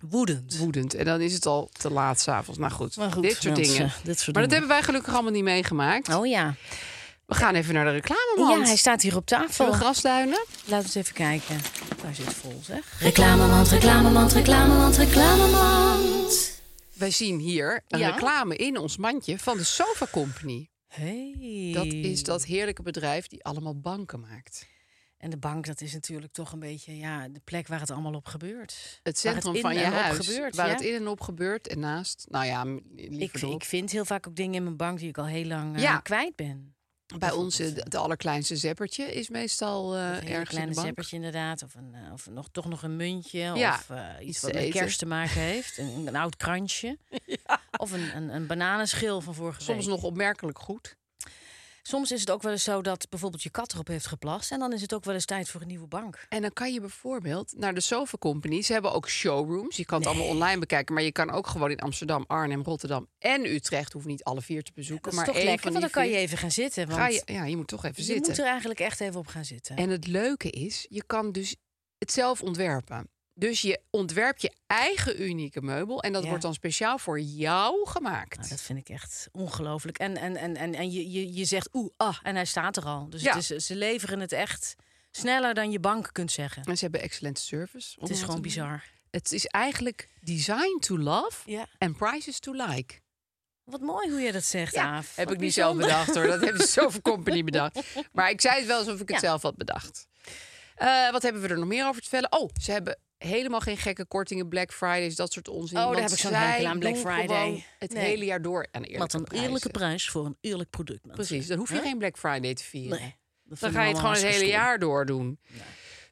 [SPEAKER 3] Woedend.
[SPEAKER 2] Woedend. En dan is het al te laat s'avonds. Nou goed,
[SPEAKER 3] Maar goed,
[SPEAKER 2] dit soort
[SPEAKER 3] mensen,
[SPEAKER 2] dingen.
[SPEAKER 3] dit soort
[SPEAKER 2] maar dat
[SPEAKER 3] dingen.
[SPEAKER 2] hebben wij gelukkig allemaal niet meegemaakt.
[SPEAKER 3] Oh ja.
[SPEAKER 2] We gaan even naar de reclame,
[SPEAKER 3] Ja, hij staat hier op tafel.
[SPEAKER 2] Zullen we grasduinen?
[SPEAKER 3] Laten we eens even kijken. Daar zit vol, zeg.
[SPEAKER 1] Reclamemand, reclamemand, reclamemand, reclamemand.
[SPEAKER 2] Wij zien hier een
[SPEAKER 3] Ja.
[SPEAKER 2] reclame in ons mandje van de Sofa Company.
[SPEAKER 3] Hey.
[SPEAKER 2] Dat is dat heerlijke bedrijf die allemaal banken maakt.
[SPEAKER 3] En de bank, dat is natuurlijk toch een beetje ja, de plek waar het allemaal op gebeurt.
[SPEAKER 2] Het
[SPEAKER 3] Waar
[SPEAKER 2] centrum
[SPEAKER 3] in
[SPEAKER 2] van je
[SPEAKER 3] en op
[SPEAKER 2] huis.
[SPEAKER 3] gebeurt,
[SPEAKER 2] waar
[SPEAKER 3] ja.
[SPEAKER 2] het in en op gebeurt en naast. Nou ja, m-
[SPEAKER 3] ik,
[SPEAKER 2] liever
[SPEAKER 3] ik
[SPEAKER 2] erop.
[SPEAKER 3] vind heel vaak ook dingen in mijn bank die ik al heel lang eh,
[SPEAKER 2] Ja.
[SPEAKER 3] kwijt ben.
[SPEAKER 2] Bij ons eh, de, de allerkleinste zeppertje is meestal eh,
[SPEAKER 3] Een hele
[SPEAKER 2] ergens in
[SPEAKER 3] kleine
[SPEAKER 2] de bank.
[SPEAKER 3] zeppertje inderdaad. Of, een, eh, of nog, toch nog een muntje.
[SPEAKER 2] Ja,
[SPEAKER 3] Of eh,
[SPEAKER 2] iets
[SPEAKER 3] iets wat
[SPEAKER 2] te
[SPEAKER 3] met
[SPEAKER 2] eten.
[SPEAKER 3] kerst te maken heeft. Een, een oud kransje. Of een, een, een bananenschil van vorige
[SPEAKER 2] Soms
[SPEAKER 3] week.
[SPEAKER 2] nog opmerkelijk goed.
[SPEAKER 3] Soms is het ook wel eens zo dat bijvoorbeeld je kat erop heeft geplast. En dan is het ook wel eens tijd voor een nieuwe bank.
[SPEAKER 2] En dan kan je bijvoorbeeld naar de Sofa Company. Ze hebben ook showrooms. Je kan het allemaal online bekijken. Maar je kan ook gewoon in Amsterdam, Arnhem, Rotterdam en Utrecht. Hoef niet alle vier te bezoeken.
[SPEAKER 3] Dat is
[SPEAKER 2] maar
[SPEAKER 3] toch
[SPEAKER 2] één
[SPEAKER 3] lekker,
[SPEAKER 2] van
[SPEAKER 3] want dan
[SPEAKER 2] die
[SPEAKER 3] kan je
[SPEAKER 2] vier-
[SPEAKER 3] even gaan zitten. Want
[SPEAKER 2] Ga je, ja, je moet toch even
[SPEAKER 3] je
[SPEAKER 2] zitten.
[SPEAKER 3] moet er eigenlijk echt even op gaan zitten.
[SPEAKER 2] En het leuke is, je kan dus het zelf ontwerpen. Dus je ontwerpt je eigen unieke meubel. En dat
[SPEAKER 3] Ja.
[SPEAKER 2] wordt dan speciaal voor jou
[SPEAKER 3] Nou,
[SPEAKER 2] gemaakt.
[SPEAKER 3] dat vind ik echt ongelooflijk. En, en, en, en, en je, je, je zegt oeh, ah, en hij staat er al. Dus
[SPEAKER 2] Ja.
[SPEAKER 3] het is, ze leveren het echt sneller dan je bank kunt zeggen.
[SPEAKER 2] En ze hebben excellente service. om
[SPEAKER 3] het is
[SPEAKER 2] dat
[SPEAKER 3] gewoon
[SPEAKER 2] te doen.
[SPEAKER 3] bizar.
[SPEAKER 2] Het is eigenlijk design to love
[SPEAKER 3] Ja.
[SPEAKER 2] en prices to like.
[SPEAKER 3] Wat mooi hoe je dat zegt, Aaf.
[SPEAKER 2] heb
[SPEAKER 3] Wat
[SPEAKER 2] ik niet zelf
[SPEAKER 3] bijzonder.
[SPEAKER 2] bedacht hoor. Dat hebben ze zoveel company bedacht. Maar ik zei het wel alsof ik het
[SPEAKER 3] Ja.
[SPEAKER 2] zelf had bedacht. Eh, wat hebben we er nog meer over te vertellen? Oh, ze hebben helemaal geen gekke kortingen. Black Fridays, dat soort onzin.
[SPEAKER 3] Oh, daar
[SPEAKER 2] want
[SPEAKER 3] heb ik zo'n
[SPEAKER 2] zij
[SPEAKER 3] hekel aan, Black
[SPEAKER 2] doen
[SPEAKER 3] Friday.
[SPEAKER 2] gewoon Het
[SPEAKER 3] Nee.
[SPEAKER 2] hele jaar door aan eerlijke
[SPEAKER 3] Wat een eerlijke
[SPEAKER 2] prijzen.
[SPEAKER 3] prijs voor een eerlijk product. mensen.
[SPEAKER 2] Precies, dan hoef je
[SPEAKER 3] Hè?
[SPEAKER 2] geen Black Friday te vieren.
[SPEAKER 3] Nee. dat
[SPEAKER 2] Dan
[SPEAKER 3] vind
[SPEAKER 2] ga je
[SPEAKER 3] ik
[SPEAKER 2] het gewoon het
[SPEAKER 3] allemaal
[SPEAKER 2] hele
[SPEAKER 3] hartstikke
[SPEAKER 2] jaar door doen.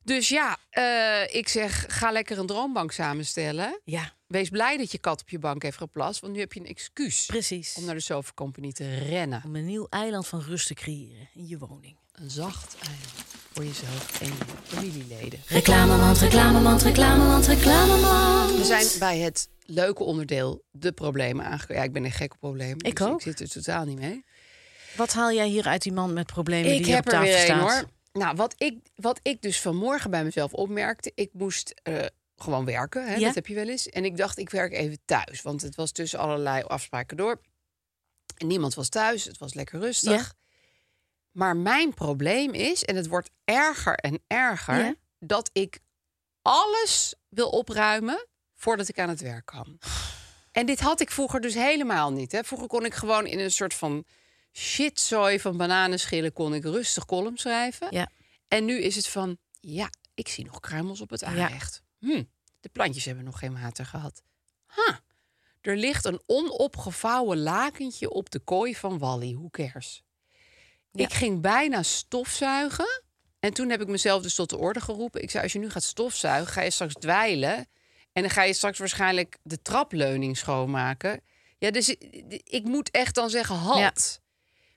[SPEAKER 2] Dus ja, eh, ik zeg, ga lekker een droombank samenstellen.
[SPEAKER 3] stom. Ja,
[SPEAKER 2] Wees blij dat je kat op je bank heeft geplast, want nu heb je een excuus
[SPEAKER 3] precies.
[SPEAKER 2] om naar de Sofa Company te rennen.
[SPEAKER 3] Om een nieuw eiland van rust te creëren in je woning.
[SPEAKER 2] Een zacht eiland voor jezelf en je familieleden.
[SPEAKER 1] Reclamemand, reclamemand, reclamemand, reclamemand.
[SPEAKER 2] We zijn bij het leuke onderdeel, de problemen aangekomen. Ja, ik ben een gek op problemen.
[SPEAKER 3] Ik
[SPEAKER 2] dus
[SPEAKER 3] ook.
[SPEAKER 2] Ik zit er totaal niet mee.
[SPEAKER 3] Wat haal jij hier uit die man met problemen
[SPEAKER 2] ik
[SPEAKER 3] die
[SPEAKER 2] heb
[SPEAKER 3] op
[SPEAKER 2] er
[SPEAKER 3] tafel
[SPEAKER 2] weer een
[SPEAKER 3] staat?
[SPEAKER 2] hoor. Nou, wat ik, wat ik dus vanmorgen bij mezelf opmerkte, ik moest eh, gewoon werken. Hè,
[SPEAKER 3] Ja.
[SPEAKER 2] Dat heb je wel eens. En ik dacht, ik werk even thuis. Want het was tussen allerlei afspraken door. En niemand was thuis. Het was lekker rustig.
[SPEAKER 3] Ja.
[SPEAKER 2] Maar mijn probleem is, en het wordt erger en erger,
[SPEAKER 3] Ja.
[SPEAKER 2] dat ik alles wil opruimen voordat ik aan het werk kan. En dit had ik vroeger dus helemaal niet. Hè. Vroeger kon ik gewoon in een soort van shitzooi van bananenschillen kon ik rustig column schrijven.
[SPEAKER 3] Ja.
[SPEAKER 2] En nu is het van, ja, ik zie nog kruimels op het aanrecht. Hm, de plantjes hebben nog geen water gehad. Ha, er ligt een onopgevouwen lakentje op de kooi van Wally. Hoe cares? Ik ging bijna stofzuigen En toen heb ik mezelf dus tot de orde geroepen. Ik zei, als je nu gaat stofzuigen, ga je straks dweilen. En dan ga je straks waarschijnlijk de trapleuning schoonmaken. Ja, dus ik- ik moet echt dan zeggen, halt.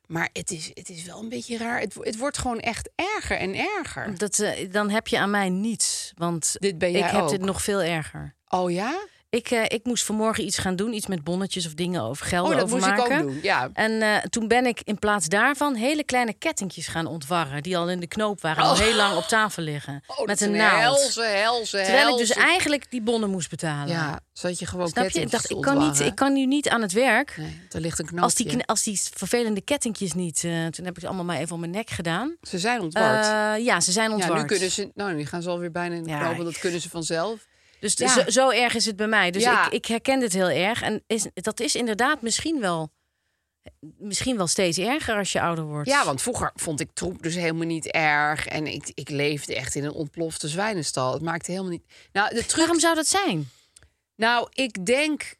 [SPEAKER 2] Maar het is, het is wel een beetje raar. Het, wo- het wordt gewoon echt erger en erger.
[SPEAKER 3] Dat, eh, dan heb je aan mij niets. Want
[SPEAKER 2] Dit ben jij
[SPEAKER 3] ik heb
[SPEAKER 2] ook.
[SPEAKER 3] dit nog veel erger.
[SPEAKER 2] Oh ja?
[SPEAKER 3] Ik, eh, ik moest vanmorgen iets gaan doen. Iets met bonnetjes of dingen over
[SPEAKER 2] Oh,
[SPEAKER 3] gelden
[SPEAKER 2] dat moest ik
[SPEAKER 3] overmaken.
[SPEAKER 2] ook doen. Ja.
[SPEAKER 3] En eh, toen ben ik in plaats daarvan hele kleine kettingjes gaan ontwarren. Die al in de knoop waren. en Al heel lang op tafel liggen.
[SPEAKER 2] Oh, dat
[SPEAKER 3] met
[SPEAKER 2] is
[SPEAKER 3] een naald.
[SPEAKER 2] Helse, helse,
[SPEAKER 3] Terwijl ik dus
[SPEAKER 2] helse-
[SPEAKER 3] eigenlijk die bonnen moest betalen.
[SPEAKER 2] Ja, zodat je gewoon
[SPEAKER 3] Snap je? Ik
[SPEAKER 2] kettingjes
[SPEAKER 3] dacht, ik
[SPEAKER 2] te
[SPEAKER 3] kan, niet,
[SPEAKER 2] ontwarren.
[SPEAKER 3] ik kan nu niet aan het werk.
[SPEAKER 2] Nee, er ligt een knoopje.
[SPEAKER 3] als, die, kn- als die vervelende kettingjes niet. eh, toen heb ik ze allemaal maar even om mijn nek gedaan.
[SPEAKER 2] Ze zijn ontward.
[SPEAKER 3] Eh, ja, ze zijn ontward.
[SPEAKER 2] Ja, nu kunnen ze. Nou, nu gaan ze alweer bijna in de
[SPEAKER 3] Ja,
[SPEAKER 2] knoop, want dat kunnen ze vanzelf.
[SPEAKER 3] Dus
[SPEAKER 2] Ja.
[SPEAKER 3] zo, zo erg is het bij mij. Dus
[SPEAKER 2] Ja.
[SPEAKER 3] ik, ik herken dit heel erg. En is, dat is inderdaad misschien wel, misschien wel steeds erger als je ouder wordt.
[SPEAKER 2] Ja, want vroeger vond ik troep dus helemaal niet erg. En ik, ik leefde echt in een ontplofte zwijnenstal. Het maakte helemaal niet. Nou, de truc.
[SPEAKER 3] Waarom zou dat zijn?
[SPEAKER 2] Nou, ik denk.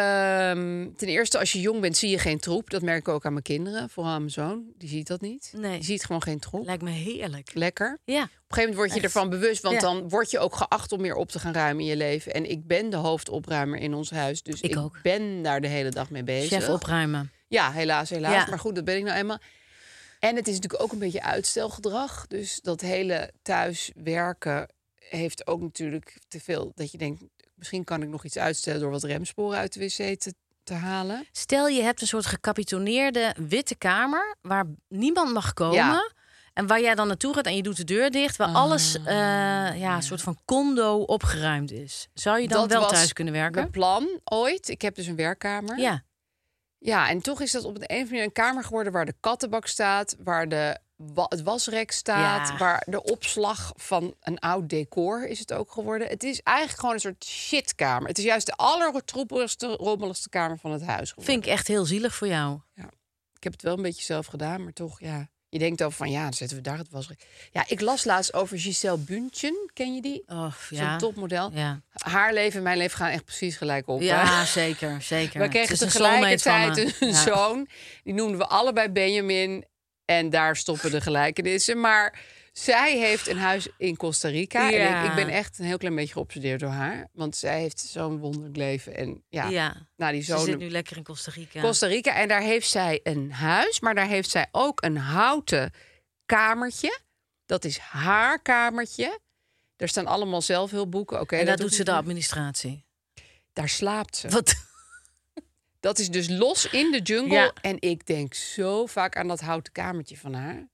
[SPEAKER 2] ehm, ten eerste, als je jong bent, zie je geen troep. Dat merk ik ook aan mijn kinderen. Vooral aan mijn zoon. Die ziet dat niet.
[SPEAKER 3] Nee.
[SPEAKER 2] Die ziet gewoon geen troep.
[SPEAKER 3] Lijkt me heerlijk.
[SPEAKER 2] Lekker. Op
[SPEAKER 3] Ja.
[SPEAKER 2] een gegeven moment word je
[SPEAKER 3] Echt.
[SPEAKER 2] ervan bewust, want
[SPEAKER 3] Ja.
[SPEAKER 2] dan word je ook geacht om meer op te gaan ruimen in je leven. En ik ben de hoofdopruimer in ons huis, dus ik,
[SPEAKER 3] Ik ook.
[SPEAKER 2] ben daar de hele dag mee bezig.
[SPEAKER 3] Chef opruimen.
[SPEAKER 2] Ja, helaas, helaas.
[SPEAKER 3] Ja.
[SPEAKER 2] Maar goed, dat ben ik nou eenmaal. En het is natuurlijk ook een beetje uitstelgedrag. Dus dat hele thuiswerken heeft ook natuurlijk te veel. Dat je denkt, misschien kan ik nog iets uitstellen door wat remsporen uit de wc te, te halen.
[SPEAKER 3] Stel je hebt een soort gecapitoneerde witte kamer waar niemand mag komen.
[SPEAKER 2] Ja.
[SPEAKER 3] En waar jij dan naartoe gaat en je doet de deur dicht, waar alles
[SPEAKER 2] Ah.
[SPEAKER 3] eh, ja, een soort van condo opgeruimd is. Zou je dan
[SPEAKER 2] dat
[SPEAKER 3] wel
[SPEAKER 2] was
[SPEAKER 3] thuis kunnen werken?
[SPEAKER 2] Mijn plan ooit. Ik heb dus een werkkamer.
[SPEAKER 3] Ja,
[SPEAKER 2] Ja, en toch is dat op de een of andere manier een kamer geworden waar de kattenbak staat, waar de wa- het wasrek staat,
[SPEAKER 3] Ja.
[SPEAKER 2] waar de opslag van een oud decor is het ook geworden. Het is eigenlijk gewoon een soort shitkamer. Het is juist de allertroepeligste, rommeligste kamer van het huis geworden.
[SPEAKER 3] vind ik echt heel zielig voor jou.
[SPEAKER 2] Ik heb het wel een beetje zelf gedaan, maar toch, ja. Je denkt over van, ja, dan zetten we daar het wasrek. Ja, ik las laatst over Giselle Bündchen. Ken je die?
[SPEAKER 3] Oh,
[SPEAKER 2] Zo'n
[SPEAKER 3] ja.
[SPEAKER 2] topmodel.
[SPEAKER 3] Ja.
[SPEAKER 2] Haar leven en mijn leven gaan echt precies gelijk op. hè?
[SPEAKER 3] Ja, zeker, zeker.
[SPEAKER 2] We kregen tegelijkertijd een,
[SPEAKER 3] zo.
[SPEAKER 2] zoon. Die noemden we allebei Benjamin. En daar stoppen de gelijkenissen. Maar zij heeft een huis in Costa Rica. En
[SPEAKER 3] Ja.
[SPEAKER 2] ik, ik ben echt een heel klein beetje geobsedeerd door haar. Want zij heeft zo'n wonderlijk leven. En ja,
[SPEAKER 3] Ja,
[SPEAKER 2] nou, die
[SPEAKER 3] ze
[SPEAKER 2] zoon
[SPEAKER 3] zit nu lekker in Costa Rica.
[SPEAKER 2] Costa Rica. En daar heeft zij een huis, maar daar heeft zij ook een houten kamertje. Dat is haar kamertje. Daar staan allemaal zelfhulpboeken. Oké,
[SPEAKER 3] en daar
[SPEAKER 2] dat
[SPEAKER 3] doet
[SPEAKER 2] hoeft
[SPEAKER 3] ze de
[SPEAKER 2] niet.
[SPEAKER 3] administratie.
[SPEAKER 2] Daar slaapt ze.
[SPEAKER 3] Wat?
[SPEAKER 2] Dat is dus los in de jungle.
[SPEAKER 3] Ja.
[SPEAKER 2] En ik denk zo vaak aan dat houten kamertje van haar. Er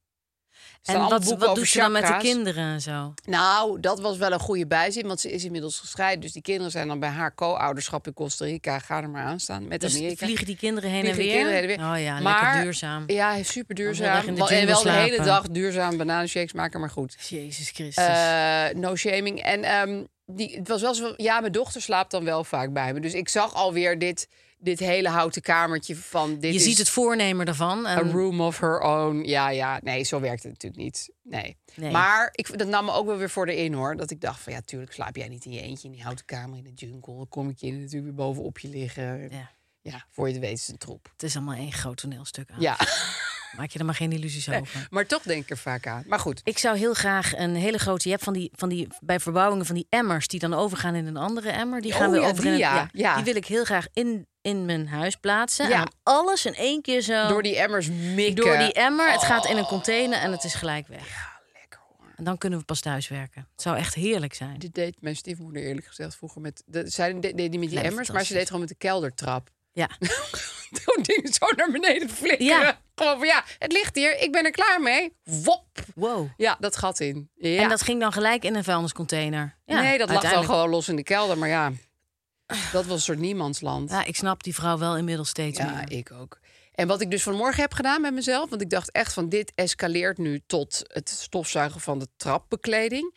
[SPEAKER 2] staan
[SPEAKER 3] En
[SPEAKER 2] allemaal
[SPEAKER 3] wat,
[SPEAKER 2] boeken
[SPEAKER 3] wat
[SPEAKER 2] over
[SPEAKER 3] doet ze dan met de
[SPEAKER 2] chakra's.
[SPEAKER 3] kinderen en zo?
[SPEAKER 2] Nou, dat was wel een goede bijzin, want ze is inmiddels gescheiden. Dus die kinderen zijn dan bij haar co-ouderschap in Costa Rica. Ga er maar aan staan met
[SPEAKER 3] Dus
[SPEAKER 2] Amerika.
[SPEAKER 3] vliegen die kinderen heen
[SPEAKER 2] Vliegen
[SPEAKER 3] en
[SPEAKER 2] die
[SPEAKER 3] weer?
[SPEAKER 2] kinderen heen en weer.
[SPEAKER 3] Oh ja,
[SPEAKER 2] Maar-
[SPEAKER 3] lekker duurzaam.
[SPEAKER 2] Ja, super
[SPEAKER 3] Dan
[SPEAKER 2] duurzaam.
[SPEAKER 3] wel in de
[SPEAKER 2] Wel- En wel de
[SPEAKER 3] jungle
[SPEAKER 2] hele
[SPEAKER 3] slapen.
[SPEAKER 2] dag duurzaam bananenshakes maken, maar goed.
[SPEAKER 3] Jezus Christus.
[SPEAKER 2] Eh, no shaming. En ehm, die, het was wel zo, ja, mijn dochter slaapt dan wel vaak bij me. Dus ik zag alweer dit, dit hele houten kamertje van dit
[SPEAKER 3] je
[SPEAKER 2] is
[SPEAKER 3] ziet het voornemen daarvan.
[SPEAKER 2] A
[SPEAKER 3] En
[SPEAKER 2] room of her own. Ja, ja. Nee, zo werkt het natuurlijk niet. Nee.
[SPEAKER 3] Nee.
[SPEAKER 2] Maar ik, dat nam me ook wel weer voor de in, hoor. Dat ik dacht van, ja, tuurlijk slaap jij niet in je eentje... in die houten kamer in de jungle. Dan kom ik je natuurlijk weer bovenop je liggen. Ja,
[SPEAKER 3] ja,
[SPEAKER 2] voor je het weet is het een troep.
[SPEAKER 3] het is allemaal één groot toneelstuk aan.
[SPEAKER 2] Ja,
[SPEAKER 3] Maak je er maar geen illusies over.
[SPEAKER 2] maar toch denk ik er vaak aan. Maar goed.
[SPEAKER 3] Ik zou heel graag een hele grote. Je hebt van die, van die bij verbouwingen van die emmers die dan overgaan in een andere emmer. Die
[SPEAKER 2] Oh
[SPEAKER 3] gaan weer
[SPEAKER 2] ja,
[SPEAKER 3] over
[SPEAKER 2] die
[SPEAKER 3] in een,
[SPEAKER 2] ja, ja.
[SPEAKER 3] Die wil ik heel graag in, in mijn huis plaatsen.
[SPEAKER 2] Ja.
[SPEAKER 3] En dan alles in één keer zo
[SPEAKER 2] Door die emmers mikken.
[SPEAKER 3] door die emmer. Het gaat
[SPEAKER 2] oh.
[SPEAKER 3] in een container en het is gelijk weg. En dan kunnen we pas thuis werken. Het zou echt heerlijk zijn.
[SPEAKER 2] Dit deed mijn stiefmoeder eerlijk gezegd vroeger met... De, zij de- deed niet met die
[SPEAKER 3] Lijkt
[SPEAKER 2] emmers, maar ze
[SPEAKER 3] fantastisch.
[SPEAKER 2] deed gewoon met de keldertrap.
[SPEAKER 3] Ja.
[SPEAKER 2] Zo'n ding zo naar beneden flikkeren.
[SPEAKER 3] Ja.
[SPEAKER 2] Gewoon van, ja, het ligt hier. Ik ben er klaar mee. Wop.
[SPEAKER 3] Wow.
[SPEAKER 2] Ja, dat gat in. Ja.
[SPEAKER 3] En dat ging dan gelijk in een vuilniscontainer. Ja,
[SPEAKER 2] nee, dat lag dan
[SPEAKER 3] uiteindelijk.
[SPEAKER 2] gewoon los in de kelder. Maar ja, dat was een soort niemandsland.
[SPEAKER 3] Ja, ik snap die vrouw wel inmiddels steeds
[SPEAKER 2] Ja,
[SPEAKER 3] meer.
[SPEAKER 2] ik ook. En wat ik dus vanmorgen heb gedaan met mezelf... want ik dacht echt van dit escaleert nu tot het stofzuigen van de trapbekleding.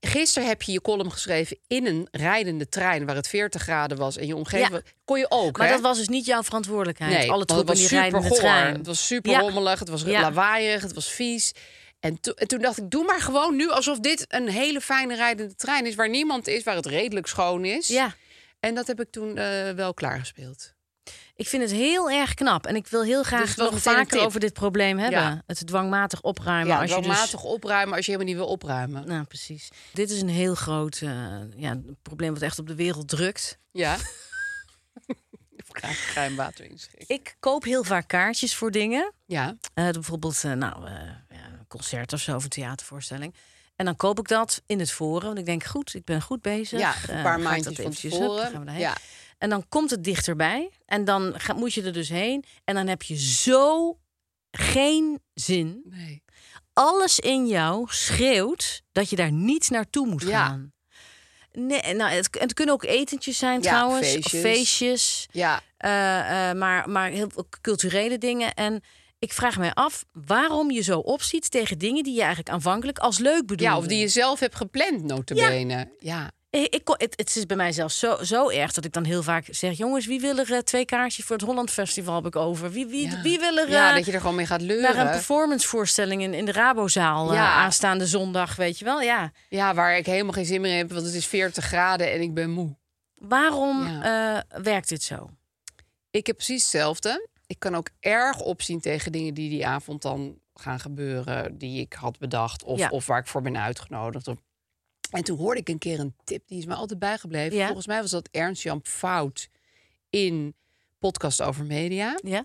[SPEAKER 2] Gisteren heb je je column geschreven in een rijdende trein... waar het 40 graden was en je omgeving...
[SPEAKER 3] Ja.
[SPEAKER 2] was- Kon je ook,
[SPEAKER 3] Maar
[SPEAKER 2] hè?
[SPEAKER 3] dat was dus niet jouw verantwoordelijkheid.
[SPEAKER 2] Nee,
[SPEAKER 3] Alle
[SPEAKER 2] want het
[SPEAKER 3] troepen
[SPEAKER 2] was
[SPEAKER 3] die
[SPEAKER 2] super
[SPEAKER 3] rijden in de
[SPEAKER 2] goor.
[SPEAKER 3] trein.
[SPEAKER 2] Het was super
[SPEAKER 3] Ja.
[SPEAKER 2] rommelig, het was
[SPEAKER 3] Ja.
[SPEAKER 2] lawaaiig, het was vies. En, to- en toen dacht ik, doe maar gewoon nu alsof dit een hele fijne rijdende trein is... waar niemand is, waar het redelijk schoon is.
[SPEAKER 3] Ja.
[SPEAKER 2] En dat heb ik toen eh, wel klaargespeeld.
[SPEAKER 3] Ik vind het heel erg knap. En ik wil heel graag
[SPEAKER 2] Dus dat is
[SPEAKER 3] nog
[SPEAKER 2] meteen een
[SPEAKER 3] vaker
[SPEAKER 2] tip.
[SPEAKER 3] over dit probleem hebben.
[SPEAKER 2] Ja.
[SPEAKER 3] Het dwangmatig opruimen.
[SPEAKER 2] ja,
[SPEAKER 3] als je dus...
[SPEAKER 2] dwangmatig opruimen als je helemaal niet wil opruimen.
[SPEAKER 3] Nou, precies. Dit is een heel groot eh, ja, probleem wat echt op de wereld drukt.
[SPEAKER 2] Ja. Graag Kruim water inschenken.
[SPEAKER 3] Ik koop heel vaak kaartjes voor dingen.
[SPEAKER 2] Ja.
[SPEAKER 3] Eh, bijvoorbeeld eh, nou, eh, ja, een concert of zo, of een theatervoorstelling. En dan koop ik dat in het forum. Want ik denk, goed, ik ben goed bezig.
[SPEAKER 2] Ja,
[SPEAKER 3] Eh,
[SPEAKER 2] een
[SPEAKER 3] ga
[SPEAKER 2] paar
[SPEAKER 3] ik dat
[SPEAKER 2] maandjes van
[SPEAKER 3] eventjes, hup,
[SPEAKER 2] tevoren.
[SPEAKER 3] gaan we daarheen.
[SPEAKER 2] ja.
[SPEAKER 3] En dan komt het dichterbij. En dan ga- moet je er dus heen. En dan heb je zo geen zin.
[SPEAKER 2] Nee.
[SPEAKER 3] Alles in jou schreeuwt dat je daar niet naartoe moet
[SPEAKER 2] Ja.
[SPEAKER 3] gaan. Nee, nou, het, het kunnen ook etentjes zijn
[SPEAKER 2] Ja,
[SPEAKER 3] trouwens.
[SPEAKER 2] feestjes.
[SPEAKER 3] Of feestjes.
[SPEAKER 2] Ja.
[SPEAKER 3] Eh, eh, maar, maar heel veel culturele dingen. En ik vraag mij af waarom je zo opziet tegen dingen die je eigenlijk aanvankelijk als leuk bedoelde.
[SPEAKER 2] ja, of die je zelf hebt gepland, notabene. Ja.
[SPEAKER 3] Ik, ik kon- het, het is bij mij zelfs zo, zo erg dat ik dan heel vaak zeg: jongens, wie wil er eh, twee kaartjes voor het Holland Festival heb ik over? Wie, wie,
[SPEAKER 2] Ja.
[SPEAKER 3] wie wil er
[SPEAKER 2] Ja,
[SPEAKER 3] eh,
[SPEAKER 2] dat je er gewoon mee gaat
[SPEAKER 3] naar een
[SPEAKER 2] leuren.
[SPEAKER 3] performancevoorstelling in, in de Rabozaal eh,
[SPEAKER 2] Ja.
[SPEAKER 3] aanstaande zondag? Weet je wel, ja.
[SPEAKER 2] Ja, waar ik helemaal geen zin meer in heb, want het is 40 graden en ik ben moe.
[SPEAKER 3] Waarom
[SPEAKER 2] Ja.
[SPEAKER 3] eh, werkt dit zo?
[SPEAKER 2] Ik heb precies hetzelfde. Ik kan ook erg opzien tegen dingen die die avond dan gaan gebeuren, die ik had bedacht of,
[SPEAKER 3] Ja.
[SPEAKER 2] of waar ik voor ben uitgenodigd. Of- En toen hoorde ik een keer een tip, die is me altijd bijgebleven.
[SPEAKER 3] Ja.
[SPEAKER 2] Volgens mij was dat Ernst-Jan Fout in podcast over media.
[SPEAKER 3] Ja,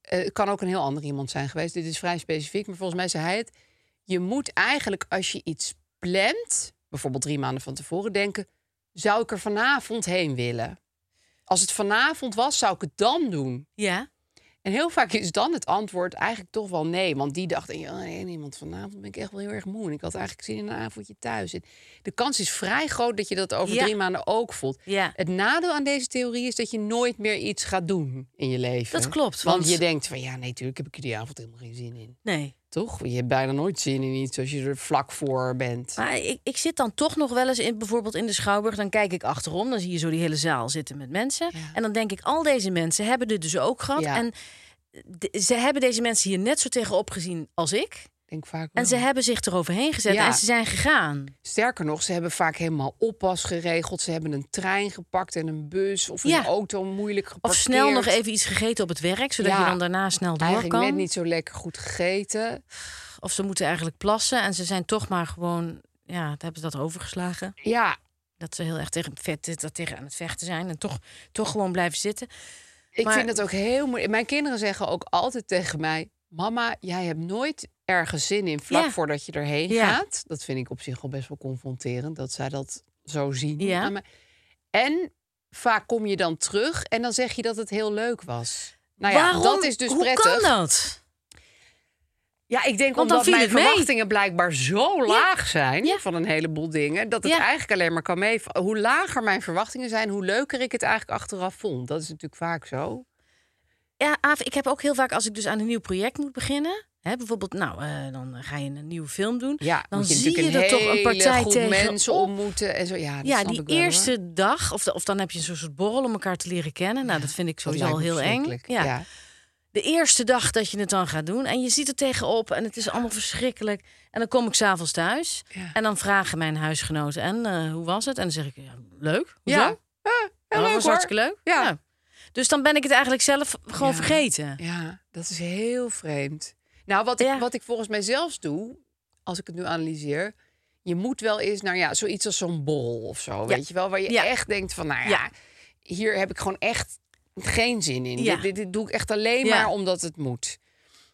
[SPEAKER 2] Eh, het kan ook een heel ander iemand zijn geweest. Dit is vrij specifiek, maar volgens mij zei hij het. Je moet eigenlijk als je iets plant, bijvoorbeeld drie maanden van tevoren, denken: zou ik er vanavond heen willen? Als het vanavond was, zou ik het dan doen.
[SPEAKER 3] ja.
[SPEAKER 2] En heel vaak is dan het antwoord eigenlijk toch wel nee. Want die dacht, oh nee, niemand vanavond ben ik echt wel heel erg moe. En ik had eigenlijk zin in een avondje thuis. En de kans is vrij groot dat je dat over
[SPEAKER 3] Ja.
[SPEAKER 2] drie maanden ook voelt.
[SPEAKER 3] Ja.
[SPEAKER 2] Het nadeel aan deze theorie is dat je nooit meer iets gaat doen in je leven.
[SPEAKER 3] Dat klopt,
[SPEAKER 2] Want,
[SPEAKER 3] want-
[SPEAKER 2] je denkt van, ja, nee, natuurlijk heb ik er die avond helemaal geen zin in.
[SPEAKER 3] Nee.
[SPEAKER 2] Toch? Je hebt bijna nooit zin in iets als je er vlak voor bent.
[SPEAKER 3] Maar ik, ik zit dan toch nog wel eens in, bijvoorbeeld in de Schouwburg. Dan kijk ik achterom, dan zie je zo die hele zaal zitten met mensen. En dan denk ik, al deze mensen hebben dit dus ook gehad.
[SPEAKER 2] Ja.
[SPEAKER 3] En de- ze hebben deze mensen hier net zo tegenop gezien als ik.
[SPEAKER 2] Ik denk vaak
[SPEAKER 3] En
[SPEAKER 2] wel.
[SPEAKER 3] ze hebben zich eroverheen gezet
[SPEAKER 2] Ja.
[SPEAKER 3] en ze zijn gegaan.
[SPEAKER 2] Sterker nog, ze hebben vaak helemaal oppas geregeld. Ze hebben een trein gepakt en een bus of
[SPEAKER 3] Ja.
[SPEAKER 2] een auto moeilijk
[SPEAKER 3] Of
[SPEAKER 2] geparkeerd.
[SPEAKER 3] snel nog even iets gegeten op het werk, zodat
[SPEAKER 2] Ja.
[SPEAKER 3] je dan daarna snel door
[SPEAKER 2] Eigenlijk
[SPEAKER 3] kan.
[SPEAKER 2] net niet zo lekker goed gegeten.
[SPEAKER 3] Of ze moeten eigenlijk plassen en ze zijn toch maar gewoon... Ja, dat hebben ze dat overgeslagen.
[SPEAKER 2] Ja,
[SPEAKER 3] Dat ze heel erg tegen, vet, dat tegen aan het vechten zijn en toch, toch gewoon blijven zitten.
[SPEAKER 2] ik
[SPEAKER 3] Maar-
[SPEAKER 2] vind het ook heel moeilijk. Mijn kinderen zeggen ook altijd tegen mij... Mama, jij hebt nooit ergens zin in vlak
[SPEAKER 3] Ja.
[SPEAKER 2] voordat je erheen
[SPEAKER 3] Ja.
[SPEAKER 2] gaat. Dat vind ik op zich al best wel confronterend. Dat zij dat zo zien.
[SPEAKER 3] Ja.
[SPEAKER 2] aan mij. En vaak kom je dan terug en dan zeg je dat het heel leuk was. Nou ja,
[SPEAKER 3] Waarom?
[SPEAKER 2] dat is dus
[SPEAKER 3] Hoe
[SPEAKER 2] prettig.
[SPEAKER 3] kan dat?
[SPEAKER 2] Ja, ik denk
[SPEAKER 3] Want dan
[SPEAKER 2] omdat
[SPEAKER 3] viel
[SPEAKER 2] mijn
[SPEAKER 3] het mee.
[SPEAKER 2] verwachtingen blijkbaar zo laag zijn
[SPEAKER 3] Ja.
[SPEAKER 2] van een heleboel dingen, dat het
[SPEAKER 3] Ja.
[SPEAKER 2] eigenlijk alleen maar kan mee. Hoe lager mijn verwachtingen zijn, hoe leuker ik het eigenlijk achteraf vond. Dat is natuurlijk vaak zo.
[SPEAKER 3] Ja, Aaf, ik heb ook heel vaak als ik dus aan een nieuw project moet beginnen. Hè, bijvoorbeeld, nou, eh, dan ga je een nieuwe film doen.
[SPEAKER 2] Ja,
[SPEAKER 3] dan
[SPEAKER 2] moet je
[SPEAKER 3] zie je
[SPEAKER 2] natuurlijk
[SPEAKER 3] er toch
[SPEAKER 2] hele
[SPEAKER 3] een partij
[SPEAKER 2] groep
[SPEAKER 3] tegen
[SPEAKER 2] mensen ontmoeten en zo. Ja, dat
[SPEAKER 3] Ja,
[SPEAKER 2] snap
[SPEAKER 3] die
[SPEAKER 2] ik wel, hoor.
[SPEAKER 3] eerste dag, of, de- of dan heb je een soort- soort borrel om elkaar te leren kennen. Nou, dat vind ik
[SPEAKER 2] Dat
[SPEAKER 3] sowieso al
[SPEAKER 2] lijkt me
[SPEAKER 3] heel eng.
[SPEAKER 2] verschrikkelijk.
[SPEAKER 3] Ja. De eerste dag dat je het dan gaat doen en je ziet er tegenop en het is allemaal verschrikkelijk. En dan kom ik s'avonds thuis
[SPEAKER 2] Ja.
[SPEAKER 3] en dan vragen mijn huisgenoten en eh, hoe was het? En dan zeg ik, ja, leuk.
[SPEAKER 2] Ja,
[SPEAKER 3] Hoezo?
[SPEAKER 2] ja.
[SPEAKER 3] "Ja,
[SPEAKER 2] heel
[SPEAKER 3] was
[SPEAKER 2] leuk hoor.
[SPEAKER 3] hartstikke leuk.
[SPEAKER 2] Ja.
[SPEAKER 3] Dus dan ben ik het eigenlijk zelf gewoon
[SPEAKER 2] Ja.
[SPEAKER 3] vergeten.
[SPEAKER 2] Ja, dat is heel vreemd. Nou, wat ik,
[SPEAKER 3] Ja.
[SPEAKER 2] wat ik volgens mij zelfs doe, als ik het nu analyseer... je moet wel eens naar ja, zoiets als zo'n bol of zo, weet je wel? Waar je
[SPEAKER 3] Ja.
[SPEAKER 2] echt denkt van, nou ja,
[SPEAKER 3] Ja.
[SPEAKER 2] hier heb ik gewoon echt geen zin in.
[SPEAKER 3] Ja.
[SPEAKER 2] Dit, dit, dit doe ik echt alleen
[SPEAKER 3] Ja.
[SPEAKER 2] maar omdat het moet.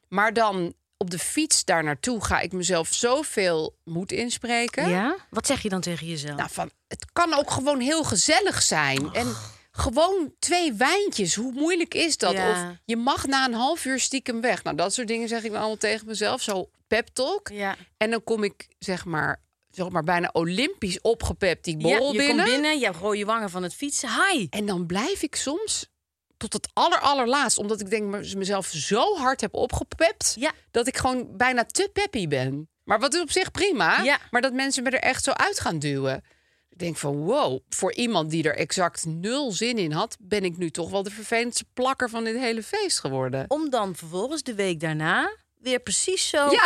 [SPEAKER 2] Maar dan op de fiets daar naartoe ga ik mezelf zoveel moed inspreken.
[SPEAKER 3] Ja? Wat zeg je dan tegen jezelf?
[SPEAKER 2] Nou, van, het kan ook gewoon heel gezellig zijn. En gewoon twee wijntjes, hoe moeilijk is dat?
[SPEAKER 3] Ja.
[SPEAKER 2] Of je mag na een half uur stiekem weg. Nou, dat soort dingen zeg ik dan allemaal tegen mezelf. Zo pep talk.
[SPEAKER 3] ja.
[SPEAKER 2] En dan kom ik, zeg maar, zeg maar bijna olympisch opgepept die
[SPEAKER 3] Ja,
[SPEAKER 2] borrel
[SPEAKER 3] je
[SPEAKER 2] binnen.
[SPEAKER 3] komt binnen, je hebt rode wangen van het fietsen. Hi!
[SPEAKER 2] En dan blijf ik soms tot het aller, allerlaatst. Omdat ik denk mez- mezelf zo hard heb opgepept.
[SPEAKER 3] Ja.
[SPEAKER 2] Dat ik gewoon bijna te peppy ben. Maar wat is op zich prima.
[SPEAKER 3] Ja.
[SPEAKER 2] Maar dat mensen me er echt zo uit gaan duwen. Ik denk van wow, voor iemand die er exact nul zin in had... ben ik nu toch wel de vervelendste plakker van dit hele feest geworden.
[SPEAKER 3] Om dan vervolgens de week daarna weer precies zo
[SPEAKER 2] ja,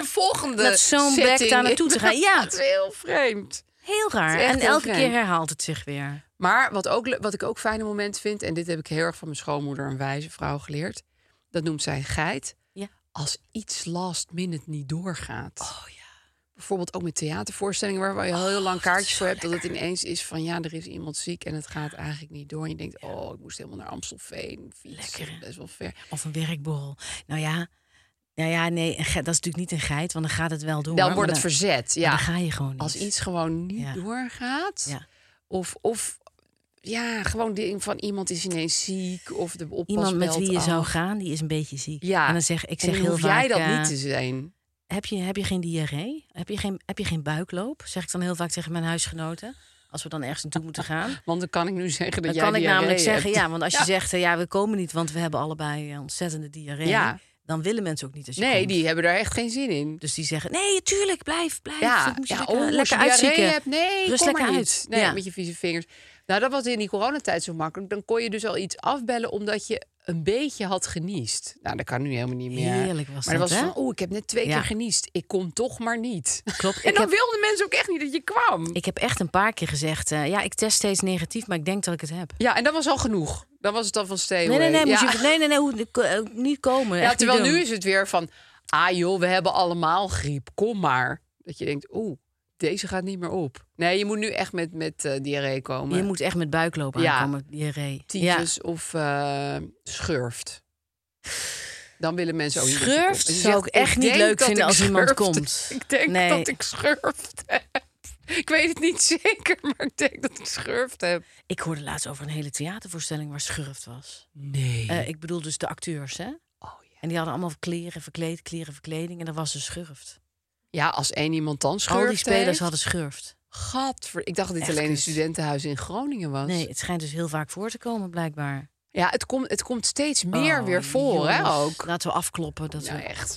[SPEAKER 2] de volgende
[SPEAKER 3] met zo'n bek
[SPEAKER 2] setting
[SPEAKER 3] daar naartoe te gaan. Ja.
[SPEAKER 2] inderdaad, heel vreemd.
[SPEAKER 3] heel raar.
[SPEAKER 2] Het is echt
[SPEAKER 3] En
[SPEAKER 2] heel
[SPEAKER 3] elke
[SPEAKER 2] vreemd.
[SPEAKER 3] keer herhaalt het zich weer.
[SPEAKER 2] Maar wat, ook, le- wat ik ook fijne moment vind, en dit heb ik heel erg van mijn schoonmoeder, een wijze vrouw, geleerd. Dat noemt zij geit.
[SPEAKER 3] Ja.
[SPEAKER 2] Als iets last minute niet doorgaat.
[SPEAKER 3] Oh,
[SPEAKER 2] Bijvoorbeeld ook met theatervoorstellingen waar je al heel lang kaartjes voor hebt. Dat het ineens is van ja, er is iemand ziek en het gaat eigenlijk niet door. En je denkt, oh, ik moest helemaal naar Amstelveen. Fietsen,
[SPEAKER 3] Lekker, hè?
[SPEAKER 2] Best wel ver.
[SPEAKER 3] Of een werkborrel. Nou ja, nou ja nee, een ge- dat is natuurlijk niet een geit, want dan gaat het wel door.
[SPEAKER 2] Dan
[SPEAKER 3] maar
[SPEAKER 2] wordt het verzet.
[SPEAKER 3] maar
[SPEAKER 2] Ja.
[SPEAKER 3] Dan ga je gewoon niet.
[SPEAKER 2] Als iets gewoon niet
[SPEAKER 3] Ja.
[SPEAKER 2] doorgaat.
[SPEAKER 3] Ja.
[SPEAKER 2] Of, of ja, gewoon ding van iemand is ineens ziek. Of de oppas
[SPEAKER 3] Iemand met
[SPEAKER 2] belt
[SPEAKER 3] wie je
[SPEAKER 2] af.
[SPEAKER 3] zou gaan, die is een beetje ziek.
[SPEAKER 2] Ja.
[SPEAKER 3] En dan zeg ik
[SPEAKER 2] En
[SPEAKER 3] zeg
[SPEAKER 2] nu
[SPEAKER 3] heel
[SPEAKER 2] hoef
[SPEAKER 3] vaak...
[SPEAKER 2] jij dat
[SPEAKER 3] eh,
[SPEAKER 2] niet te zijn.
[SPEAKER 3] heb, je, heb je geen diarree? Heb je geen, heb je geen buikloop? Zeg ik dan heel vaak tegen mijn huisgenoten. Als we dan ergens naartoe moeten gaan.
[SPEAKER 2] Want dan kan ik nu zeggen dat
[SPEAKER 3] Dan
[SPEAKER 2] jij
[SPEAKER 3] kan ik
[SPEAKER 2] diarree
[SPEAKER 3] namelijk
[SPEAKER 2] hebt.
[SPEAKER 3] zeggen, ja, want als je
[SPEAKER 2] Ja.
[SPEAKER 3] zegt, eh, ja, we komen niet, want we hebben allebei eh, ontzettende diarree.
[SPEAKER 2] Ja.
[SPEAKER 3] Dan willen mensen ook niet als je
[SPEAKER 2] Nee,
[SPEAKER 3] komt.
[SPEAKER 2] die hebben daar echt geen zin in.
[SPEAKER 3] Dus die zeggen, nee, tuurlijk, blijf, blijf.
[SPEAKER 2] Ja,
[SPEAKER 3] dat moet je
[SPEAKER 2] ja
[SPEAKER 3] lekker,
[SPEAKER 2] oh, als
[SPEAKER 3] lekker
[SPEAKER 2] je diarree
[SPEAKER 3] uitzieken.
[SPEAKER 2] hebt, nee,
[SPEAKER 3] Rust
[SPEAKER 2] kom
[SPEAKER 3] lekker
[SPEAKER 2] maar
[SPEAKER 3] uit.
[SPEAKER 2] niet. Nee,
[SPEAKER 3] Ja.
[SPEAKER 2] met je vieze vingers. Nou, dat was in die coronatijd zo makkelijk. Dan kon je dus al iets afbellen omdat je een beetje had geniest. Nou, dat kan nu helemaal niet meer.
[SPEAKER 3] Heerlijk was
[SPEAKER 2] maar dan was
[SPEAKER 3] dat,
[SPEAKER 2] het
[SPEAKER 3] hè?
[SPEAKER 2] van, oeh, ik heb net twee
[SPEAKER 3] Ja.
[SPEAKER 2] keer geniest. Ik kom toch maar niet.
[SPEAKER 3] Klopt,
[SPEAKER 2] en
[SPEAKER 3] ik
[SPEAKER 2] dan
[SPEAKER 3] heb-
[SPEAKER 2] wilden mensen ook echt niet dat je kwam.
[SPEAKER 3] Ik heb echt een paar keer gezegd, eh, ja, ik test steeds negatief, maar ik denk dat ik het heb.
[SPEAKER 2] Ja, en dat was al genoeg. Dan was het dan van stay
[SPEAKER 3] Nee, nee, nee,
[SPEAKER 2] ja.
[SPEAKER 3] moet je, nee, nee, nee hoe, eh, niet komen. echt
[SPEAKER 2] ja,
[SPEAKER 3] niet
[SPEAKER 2] terwijl
[SPEAKER 3] doen.
[SPEAKER 2] nu is het weer van, ah joh, we hebben allemaal griep, kom maar. Dat je denkt, oeh, deze gaat niet meer op. Nee, je moet nu echt met, met eh, diarree komen.
[SPEAKER 3] Je moet echt met buikloop
[SPEAKER 2] Ja.
[SPEAKER 3] aankomen, diarree.
[SPEAKER 2] tyfus of eh, schurft. Dan willen mensen ook niet dat je
[SPEAKER 3] Schurft
[SPEAKER 2] komt. Ze
[SPEAKER 3] zou
[SPEAKER 2] zegt,
[SPEAKER 3] ik echt niet
[SPEAKER 2] denk
[SPEAKER 3] leuk
[SPEAKER 2] dat
[SPEAKER 3] vinden
[SPEAKER 2] ik
[SPEAKER 3] als iemand
[SPEAKER 2] schurft.
[SPEAKER 3] komt.
[SPEAKER 2] Ik denk
[SPEAKER 3] Nee.
[SPEAKER 2] dat ik schurft heb. Ik weet het niet zeker, maar ik denk dat ik schurft heb.
[SPEAKER 3] Ik hoorde laatst over een hele theatervoorstelling waar schurft was.
[SPEAKER 2] Nee.
[SPEAKER 3] Eh, ik bedoel dus de acteurs, hè?
[SPEAKER 2] Oh,
[SPEAKER 3] En die hadden allemaal kleren verkleed, kleren verkleding. En er was dus schurft.
[SPEAKER 2] ja, als één iemand dan schurft
[SPEAKER 3] Al die spelers
[SPEAKER 2] heeft.
[SPEAKER 3] hadden schurft.
[SPEAKER 2] Gadver, ik dacht dat dit
[SPEAKER 3] Echt
[SPEAKER 2] alleen een
[SPEAKER 3] kut.
[SPEAKER 2] studentenhuis in Groningen was.
[SPEAKER 3] Nee, het schijnt dus heel vaak voor te komen, blijkbaar.
[SPEAKER 2] Ja, het, komt het komt steeds meer
[SPEAKER 3] Oh,
[SPEAKER 2] weer voor, hè,
[SPEAKER 3] jongens.
[SPEAKER 2] ook.
[SPEAKER 3] Laten we afkloppen. Dat
[SPEAKER 2] Nou,
[SPEAKER 3] we...
[SPEAKER 2] echt.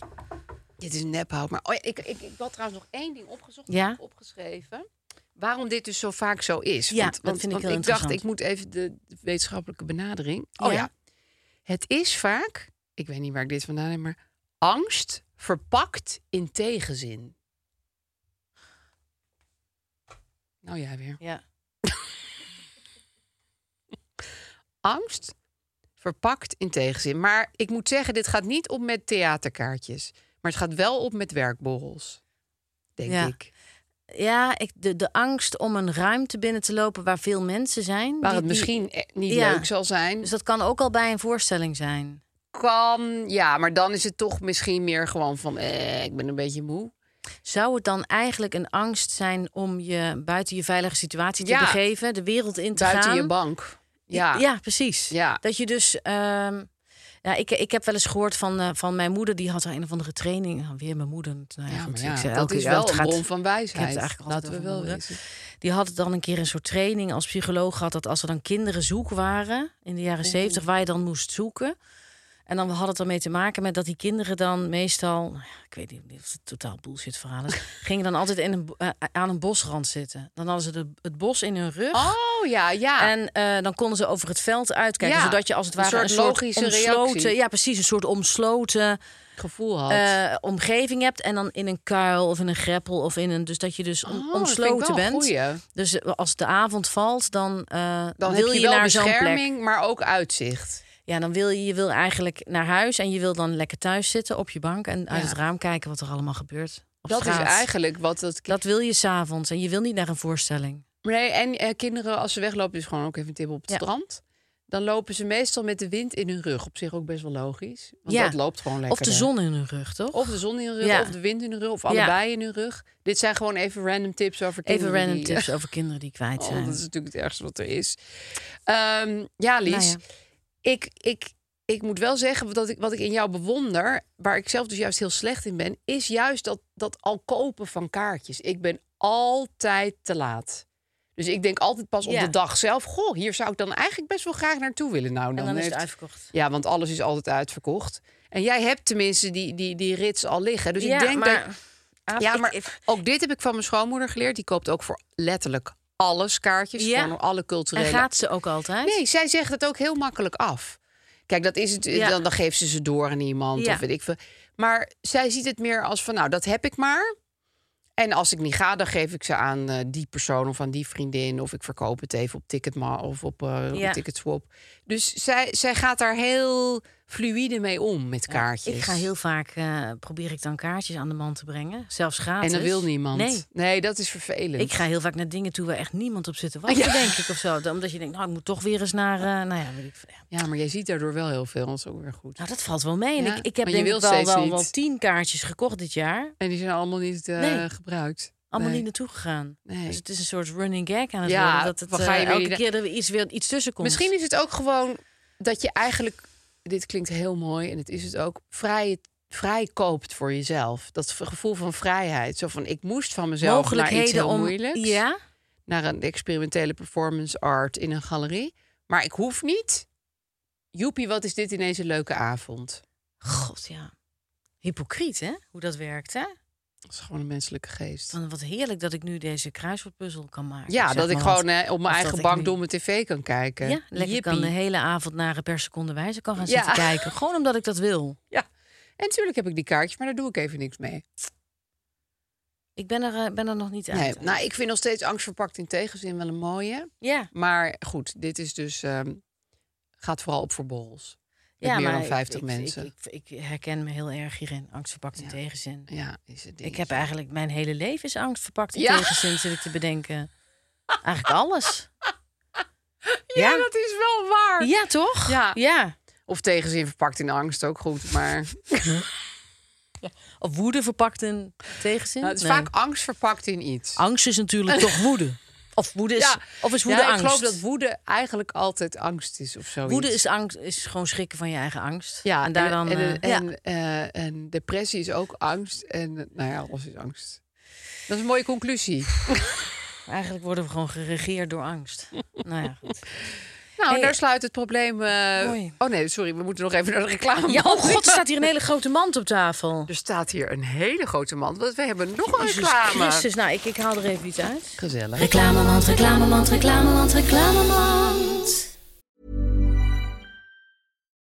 [SPEAKER 2] Dit is nephout. Maar oh, ja, ik, ik, ik had trouwens nog één ding opgezocht.
[SPEAKER 3] Ja?
[SPEAKER 2] Ja? opgeschreven. Waarom dit dus zo vaak zo is.
[SPEAKER 3] Ja, dat vind ik heel
[SPEAKER 2] ik dacht,
[SPEAKER 3] interessant.
[SPEAKER 2] ik moet even de wetenschappelijke benadering. Oh
[SPEAKER 3] Ja.
[SPEAKER 2] ja. Het is vaak, ik weet niet waar ik dit vandaan heb, maar angst verpakt in tegenzin. Nou ja, weer.
[SPEAKER 3] Ja.
[SPEAKER 2] angst verpakt in tegenzin. Maar ik moet zeggen, dit gaat niet op met theaterkaartjes. Maar het gaat wel op met werkborrels. Denk
[SPEAKER 3] Ja.
[SPEAKER 2] ik.
[SPEAKER 3] Ja, ik, de, de angst om een ruimte binnen te lopen waar veel mensen zijn.
[SPEAKER 2] Waar
[SPEAKER 3] die-
[SPEAKER 2] het
[SPEAKER 3] die-
[SPEAKER 2] misschien eh, niet
[SPEAKER 3] Ja.
[SPEAKER 2] leuk zal zijn.
[SPEAKER 3] Dus dat kan ook al bij een voorstelling zijn.
[SPEAKER 2] kan, ja, maar dan is het toch misschien meer gewoon van... Eh, ik ben een beetje moe.
[SPEAKER 3] Zou het dan eigenlijk een angst zijn om je buiten je veilige situatie te
[SPEAKER 2] Ja.
[SPEAKER 3] begeven, de wereld in te
[SPEAKER 2] Buiten
[SPEAKER 3] gaan?
[SPEAKER 2] je bank. Ja.
[SPEAKER 3] ja, precies.
[SPEAKER 2] Ja.
[SPEAKER 3] Dat je dus. ehm, ja, ik, ik heb wel eens gehoord van, eh, van mijn moeder, die had een of andere training. Nou, weer mijn moeder. Nou ja,
[SPEAKER 2] Ja,
[SPEAKER 3] goed,
[SPEAKER 2] maar ja,
[SPEAKER 3] ik zei,
[SPEAKER 2] dat
[SPEAKER 3] elke
[SPEAKER 2] is
[SPEAKER 3] keer,
[SPEAKER 2] wel
[SPEAKER 3] het
[SPEAKER 2] een
[SPEAKER 3] gaat-
[SPEAKER 2] bron van
[SPEAKER 3] Ik heb
[SPEAKER 2] wijsheid.
[SPEAKER 3] het eigenlijk
[SPEAKER 2] Laten we
[SPEAKER 3] altijd
[SPEAKER 2] wel
[SPEAKER 3] over mijn
[SPEAKER 2] wezen.
[SPEAKER 3] moeder. Die had dan een keer een soort training als psycholoog gehad. Dat als er dan kinderen zoek waren in de jaren zeventig, waar je dan moest zoeken. En dan had het ermee te maken met dat die kinderen dan meestal, nou ja, ik weet niet of het totaal bullshit verhaal is, gingen dan altijd in een, bo- eh, aan een bosrand zitten. Dan hadden ze de, het bos in hun rug.
[SPEAKER 2] Oh, ja, ja.
[SPEAKER 3] En eh, dan konden ze over het veld uitkijken,
[SPEAKER 2] Ja,
[SPEAKER 3] zodat je als het
[SPEAKER 2] een
[SPEAKER 3] ware
[SPEAKER 2] soort
[SPEAKER 3] een soort
[SPEAKER 2] logische
[SPEAKER 3] omsloten,
[SPEAKER 2] reactie.
[SPEAKER 3] ja precies, een soort omsloten
[SPEAKER 2] gevoel had. Oh,
[SPEAKER 3] eh, omgeving hebt en dan in een kuil of in een greppel of in een, dus dat je dus om-
[SPEAKER 2] Oh, dat vind ik
[SPEAKER 3] omsloten
[SPEAKER 2] wel een
[SPEAKER 3] bent.
[SPEAKER 2] goeie.
[SPEAKER 3] Dus eh, als de avond valt, dan, eh,
[SPEAKER 2] Dan
[SPEAKER 3] wil
[SPEAKER 2] heb
[SPEAKER 3] je,
[SPEAKER 2] je, wel
[SPEAKER 3] naar zo'n plek.
[SPEAKER 2] bescherming, maar ook uitzicht.
[SPEAKER 3] Ja, dan wil je, je wil eigenlijk naar huis en je wil dan lekker thuis zitten op je bank en uit
[SPEAKER 2] Ja.
[SPEAKER 3] het raam kijken wat er allemaal gebeurt. Op
[SPEAKER 2] dat
[SPEAKER 3] straat.
[SPEAKER 2] is eigenlijk wat dat... kind-
[SPEAKER 3] Dat wil je s'avonds en je wil niet naar een voorstelling.
[SPEAKER 2] Nee, en eh, kinderen, als ze weglopen, is gewoon ook even een tip op het
[SPEAKER 3] Ja.
[SPEAKER 2] strand. Dan lopen ze meestal met de wind in hun rug. Op zich ook best wel logisch. Want
[SPEAKER 3] Ja.
[SPEAKER 2] dat loopt gewoon lekker.
[SPEAKER 3] Of de zon in hun rug, toch?
[SPEAKER 2] Of de zon in hun rug,
[SPEAKER 3] Ja.
[SPEAKER 2] of de wind in hun rug, of
[SPEAKER 3] Ja.
[SPEAKER 2] allebei in hun rug. Dit zijn gewoon even random tips over kinderen.
[SPEAKER 3] Even random
[SPEAKER 2] die-
[SPEAKER 3] tips over kinderen die kwijt
[SPEAKER 2] Oh,
[SPEAKER 3] zijn.
[SPEAKER 2] dat is natuurlijk het ergste wat er is. Ehm, ja, Lies.
[SPEAKER 3] Nou ja.
[SPEAKER 2] Ik, ik, ik moet wel zeggen, dat ik, wat ik in jou bewonder... waar ik zelf dus juist heel slecht in ben... is juist dat, dat al kopen van kaartjes. Ik ben altijd te laat. Dus ik denk altijd pas op
[SPEAKER 3] Ja.
[SPEAKER 2] de dag zelf... goh, hier zou ik dan eigenlijk best wel graag naartoe willen. Nou, dan,
[SPEAKER 3] en dan is
[SPEAKER 2] heeft-
[SPEAKER 3] het uitverkocht.
[SPEAKER 2] Ja, want alles is altijd uitverkocht. En jij hebt tenminste die, die, die rits al liggen. Dus
[SPEAKER 3] Ja,
[SPEAKER 2] ik denk
[SPEAKER 3] maar-
[SPEAKER 2] dat...
[SPEAKER 3] Ah,
[SPEAKER 2] Ja,
[SPEAKER 3] ik-
[SPEAKER 2] maar
[SPEAKER 3] ik-
[SPEAKER 2] ook dit heb ik van mijn schoonmoeder geleerd. Die koopt ook voor letterlijk alles kaartjes.
[SPEAKER 3] Ja.
[SPEAKER 2] Voor alle culturele...
[SPEAKER 3] en gaat ze ook altijd?
[SPEAKER 2] Nee, zij zegt het ook heel makkelijk af. Kijk, dat is het,
[SPEAKER 3] Ja.
[SPEAKER 2] dan, dan geeft ze ze door aan iemand
[SPEAKER 3] Ja.
[SPEAKER 2] of weet ik veel. Maar zij ziet het meer als van, nou, dat heb ik maar. En als ik niet ga, dan geef ik ze aan eh, die persoon of aan die vriendin. Of ik verkoop het even op Ticketma of op, eh, op
[SPEAKER 3] Ja.
[SPEAKER 2] Ticketswap. Dus zij, zij gaat daar heel fluïde mee om met kaartjes.
[SPEAKER 3] Ik ga heel vaak, eh, probeer ik dan kaartjes aan de man te brengen. Zelfs gratis.
[SPEAKER 2] en dat wil niemand.
[SPEAKER 3] Nee.
[SPEAKER 2] dat is vervelend.
[SPEAKER 3] Ik ga heel vaak naar dingen toe waar echt niemand op zit te wachten,
[SPEAKER 2] Ja.
[SPEAKER 3] denk ik, of zo. Dan- Omdat je denkt, nou, ik moet toch weer eens naar, eh, nou ja, weet ik veel. Ja.
[SPEAKER 2] Ja, maar jij ziet daardoor wel heel veel. Dat is ook weer goed.
[SPEAKER 3] Nou, dat valt wel mee. En
[SPEAKER 2] Ja,
[SPEAKER 3] ik, ik heb
[SPEAKER 2] maar je
[SPEAKER 3] denk ik
[SPEAKER 2] wil
[SPEAKER 3] wel,
[SPEAKER 2] steeds
[SPEAKER 3] wel,
[SPEAKER 2] niet.
[SPEAKER 3] wel tien kaartjes gekocht dit jaar.
[SPEAKER 2] En die zijn allemaal niet eh,
[SPEAKER 3] Nee.
[SPEAKER 2] gebruikt.
[SPEAKER 3] Allemaal
[SPEAKER 2] Nee.
[SPEAKER 3] niet naartoe gegaan.
[SPEAKER 2] Nee.
[SPEAKER 3] Dus het is een soort running gag aan het
[SPEAKER 2] Ja,
[SPEAKER 3] worden. Dat het
[SPEAKER 2] we gaan
[SPEAKER 3] eh,
[SPEAKER 2] je weer
[SPEAKER 3] elke
[SPEAKER 2] die-
[SPEAKER 3] keer er weer iets, weer iets tussen komt.
[SPEAKER 2] Misschien is het ook gewoon dat je eigenlijk, dit klinkt heel mooi en het is het ook, vrij, vrij koopt voor jezelf. Dat v- gevoel van vrijheid. Zo van, ik moest van mezelf naar iets heel
[SPEAKER 3] om...
[SPEAKER 2] moeilijks.
[SPEAKER 3] Ja,
[SPEAKER 2] Naar een experimentele performance art in een galerie. Maar ik hoef niet. Joepie, wat is dit ineens een leuke avond?
[SPEAKER 3] god ja. Hypocriet, hè? Hoe dat werkt, hè?
[SPEAKER 2] Dat is gewoon een menselijke geest.
[SPEAKER 3] Van wat heerlijk dat ik nu deze kruiswoordpuzzel kan maken.
[SPEAKER 2] Ja,
[SPEAKER 3] zeg
[SPEAKER 2] dat ik
[SPEAKER 3] maar
[SPEAKER 2] gewoon
[SPEAKER 3] wat.
[SPEAKER 2] hè, op
[SPEAKER 3] Of
[SPEAKER 2] mijn eigen
[SPEAKER 3] dat ik nu-
[SPEAKER 2] bank domme tv kan kijken.
[SPEAKER 3] Ja, lekker kan de
[SPEAKER 2] Jippie.
[SPEAKER 3] hele avond naar per seconde wijze kan gaan
[SPEAKER 2] Ja.
[SPEAKER 3] zitten kijken. Gewoon omdat ik dat wil.
[SPEAKER 2] Ja. En natuurlijk heb ik die kaartjes, maar daar doe ik even niks mee.
[SPEAKER 3] Ik ben er, eh, ben er nog niet uit.
[SPEAKER 2] Nee, nou, ik vind nog steeds angst verpakt in tegenzin wel een mooie.
[SPEAKER 3] ja,
[SPEAKER 2] Maar goed, dit is dus. ehm, gaat vooral op voor borrels. Met
[SPEAKER 3] ja,
[SPEAKER 2] meer
[SPEAKER 3] maar
[SPEAKER 2] dan
[SPEAKER 3] ik-
[SPEAKER 2] 50
[SPEAKER 3] ik-
[SPEAKER 2] mensen.
[SPEAKER 3] Ik, ik, ik herken me heel erg hierin. Angst verpakt in
[SPEAKER 2] Ja.
[SPEAKER 3] tegenzin.
[SPEAKER 2] ja, is het
[SPEAKER 3] Ik
[SPEAKER 2] dingetje.
[SPEAKER 3] heb eigenlijk mijn hele leven is angst verpakt in
[SPEAKER 2] Ja.
[SPEAKER 3] tegenzin, zit ik te bedenken. Eigenlijk alles.
[SPEAKER 2] Ja,
[SPEAKER 3] Ja.
[SPEAKER 2] dat is wel waar.
[SPEAKER 3] Ja, toch?
[SPEAKER 2] Ja.
[SPEAKER 3] ja.
[SPEAKER 2] Of tegenzin verpakt in angst ook goed. Maar nou,
[SPEAKER 3] Of woede verpakt in tegenzin.
[SPEAKER 2] Nou, het is
[SPEAKER 3] Nee.
[SPEAKER 2] vaak angst verpakt in iets.
[SPEAKER 3] Angst is natuurlijk toch woede. Of woede is, of is woede
[SPEAKER 2] ja,
[SPEAKER 3] angst.
[SPEAKER 2] Ik geloof dat woede eigenlijk altijd angst is of zo.
[SPEAKER 3] Woede is, angst, is gewoon schrikken van je eigen angst.
[SPEAKER 2] Ja,
[SPEAKER 3] en daar dan.
[SPEAKER 2] En,
[SPEAKER 3] eh, ja.
[SPEAKER 2] en, eh, en depressie is ook angst. En eh, nou ja, alles is angst. Dat is een mooie conclusie.
[SPEAKER 3] Eigenlijk worden we gewoon geregeerd door angst. nou ja, goed.
[SPEAKER 2] Nou,
[SPEAKER 3] Hey,
[SPEAKER 2] daar sluit het probleem. eh,
[SPEAKER 3] mooi.
[SPEAKER 2] Oh nee, sorry, we moeten nog even naar de reclame.
[SPEAKER 3] Ja, oh god, er staat hier een hele grote mand op tafel.
[SPEAKER 2] Er staat hier een hele grote mand, want we hebben nog een
[SPEAKER 3] Jezus
[SPEAKER 2] reclame.
[SPEAKER 3] Christus, nou, ik, ik haal er even iets uit.
[SPEAKER 2] Gezellig.
[SPEAKER 1] Reclamemand, reclamemand, reclamemand, reclamemand.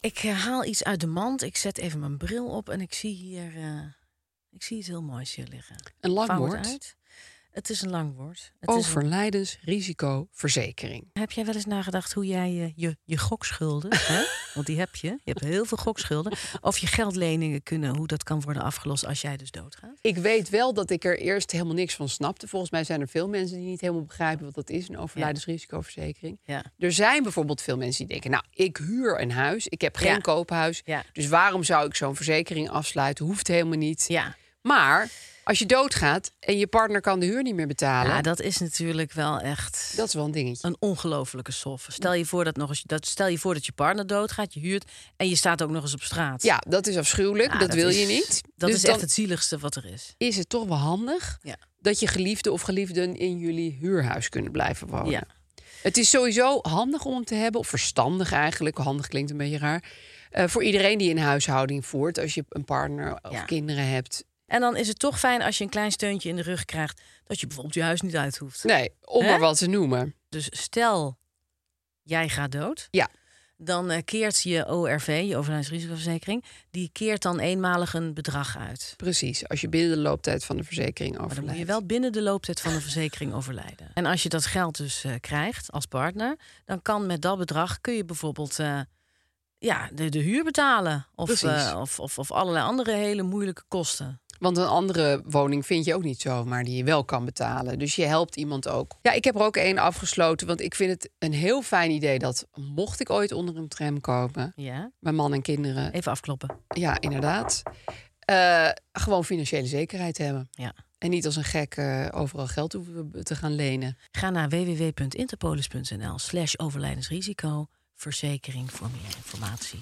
[SPEAKER 3] Ik eh, haal iets uit de mand. Ik zet even mijn bril op en ik zie hier. eh, ik zie iets heel moois hier liggen.
[SPEAKER 2] Een lang
[SPEAKER 3] Vouw het
[SPEAKER 2] woord.
[SPEAKER 3] uit. Het is een lang woord. Het is een-
[SPEAKER 2] Overlijdensrisicoverzekering.
[SPEAKER 3] Heb jij wel eens nagedacht hoe jij eh, je, je gokschulden, hè? want die heb je, je hebt heel veel gokschulden, of je geldleningen kunnen, hoe dat kan worden afgelost als jij dus doodgaat?
[SPEAKER 2] Ik weet wel dat ik er eerst helemaal niks van snapte. Volgens mij zijn er veel mensen die niet helemaal begrijpen wat dat is, een overlijdensrisicoverzekering.
[SPEAKER 3] Ja.
[SPEAKER 2] Er zijn bijvoorbeeld veel mensen die denken, nou, ik huur een huis, ik heb geen
[SPEAKER 3] Ja.
[SPEAKER 2] koophuis,
[SPEAKER 3] Ja.
[SPEAKER 2] dus waarom zou ik zo'n verzekering afsluiten? Hoeft helemaal niet.
[SPEAKER 3] Ja.
[SPEAKER 2] Maar als je doodgaat en je partner kan de huur niet meer betalen,
[SPEAKER 3] ja,
[SPEAKER 2] dat...
[SPEAKER 3] dat is natuurlijk wel echt
[SPEAKER 2] is wel een dingetje.
[SPEAKER 3] een ongelofelijke sof. Stel je voor dat nog eens, dat, stel je voor dat je partner doodgaat, je huurt en je staat ook nog eens op straat.
[SPEAKER 2] Ja, dat is afschuwelijk,
[SPEAKER 3] Nou,
[SPEAKER 2] dat, wil
[SPEAKER 3] is-
[SPEAKER 2] je niet.
[SPEAKER 3] Dat
[SPEAKER 2] dus
[SPEAKER 3] is
[SPEAKER 2] dan
[SPEAKER 3] echt het zieligste wat er is.
[SPEAKER 2] is het toch wel handig
[SPEAKER 3] Ja.
[SPEAKER 2] dat je geliefde of geliefden in jullie huurhuis kunnen blijven wonen.
[SPEAKER 3] Ja.
[SPEAKER 2] Het is sowieso handig om te hebben, of verstandig eigenlijk, handig klinkt een beetje raar, eh, voor iedereen die een huishouding voert, als je een partner of
[SPEAKER 3] Ja.
[SPEAKER 2] kinderen hebt.
[SPEAKER 3] En dan is het toch fijn als je een klein steuntje in de rug krijgt dat je bijvoorbeeld je huis niet uit hoeft.
[SPEAKER 2] Nee, om
[SPEAKER 3] Hè?
[SPEAKER 2] maar wat te noemen.
[SPEAKER 3] Dus stel jij gaat dood.
[SPEAKER 2] Ja,
[SPEAKER 3] dan eh, keert je ORV, je overlijdensrisicoverzekering, die keert dan eenmalig een bedrag uit.
[SPEAKER 2] precies. Als je binnen de looptijd van de verzekering
[SPEAKER 3] Maar dan moet je
[SPEAKER 2] overlijdt.
[SPEAKER 3] wel binnen de looptijd van de verzekering overlijden. En als je dat geld dus eh, krijgt als partner, dan kan met dat bedrag kun je bijvoorbeeld eh, ja, de, de huur betalen. Of,
[SPEAKER 2] Precies.
[SPEAKER 3] eh, of, of, of allerlei andere hele moeilijke kosten.
[SPEAKER 2] Want een andere woning vind je ook niet zomaar die je wel kan betalen. Dus je helpt iemand ook. Ja, ik heb er ook één afgesloten, want ik vind het een heel fijn idee dat mocht ik ooit onder een tram komen,
[SPEAKER 3] Ja,
[SPEAKER 2] mijn man en kinderen
[SPEAKER 3] even afkloppen.
[SPEAKER 2] Ja, inderdaad. Eh, gewoon financiële zekerheid hebben.
[SPEAKER 3] Ja.
[SPEAKER 2] En niet als een gek eh, overal geld hoeven te gaan lenen.
[SPEAKER 3] Ga naar www.interpolis.nl slash overlijdensrisico verzekering voor meer informatie.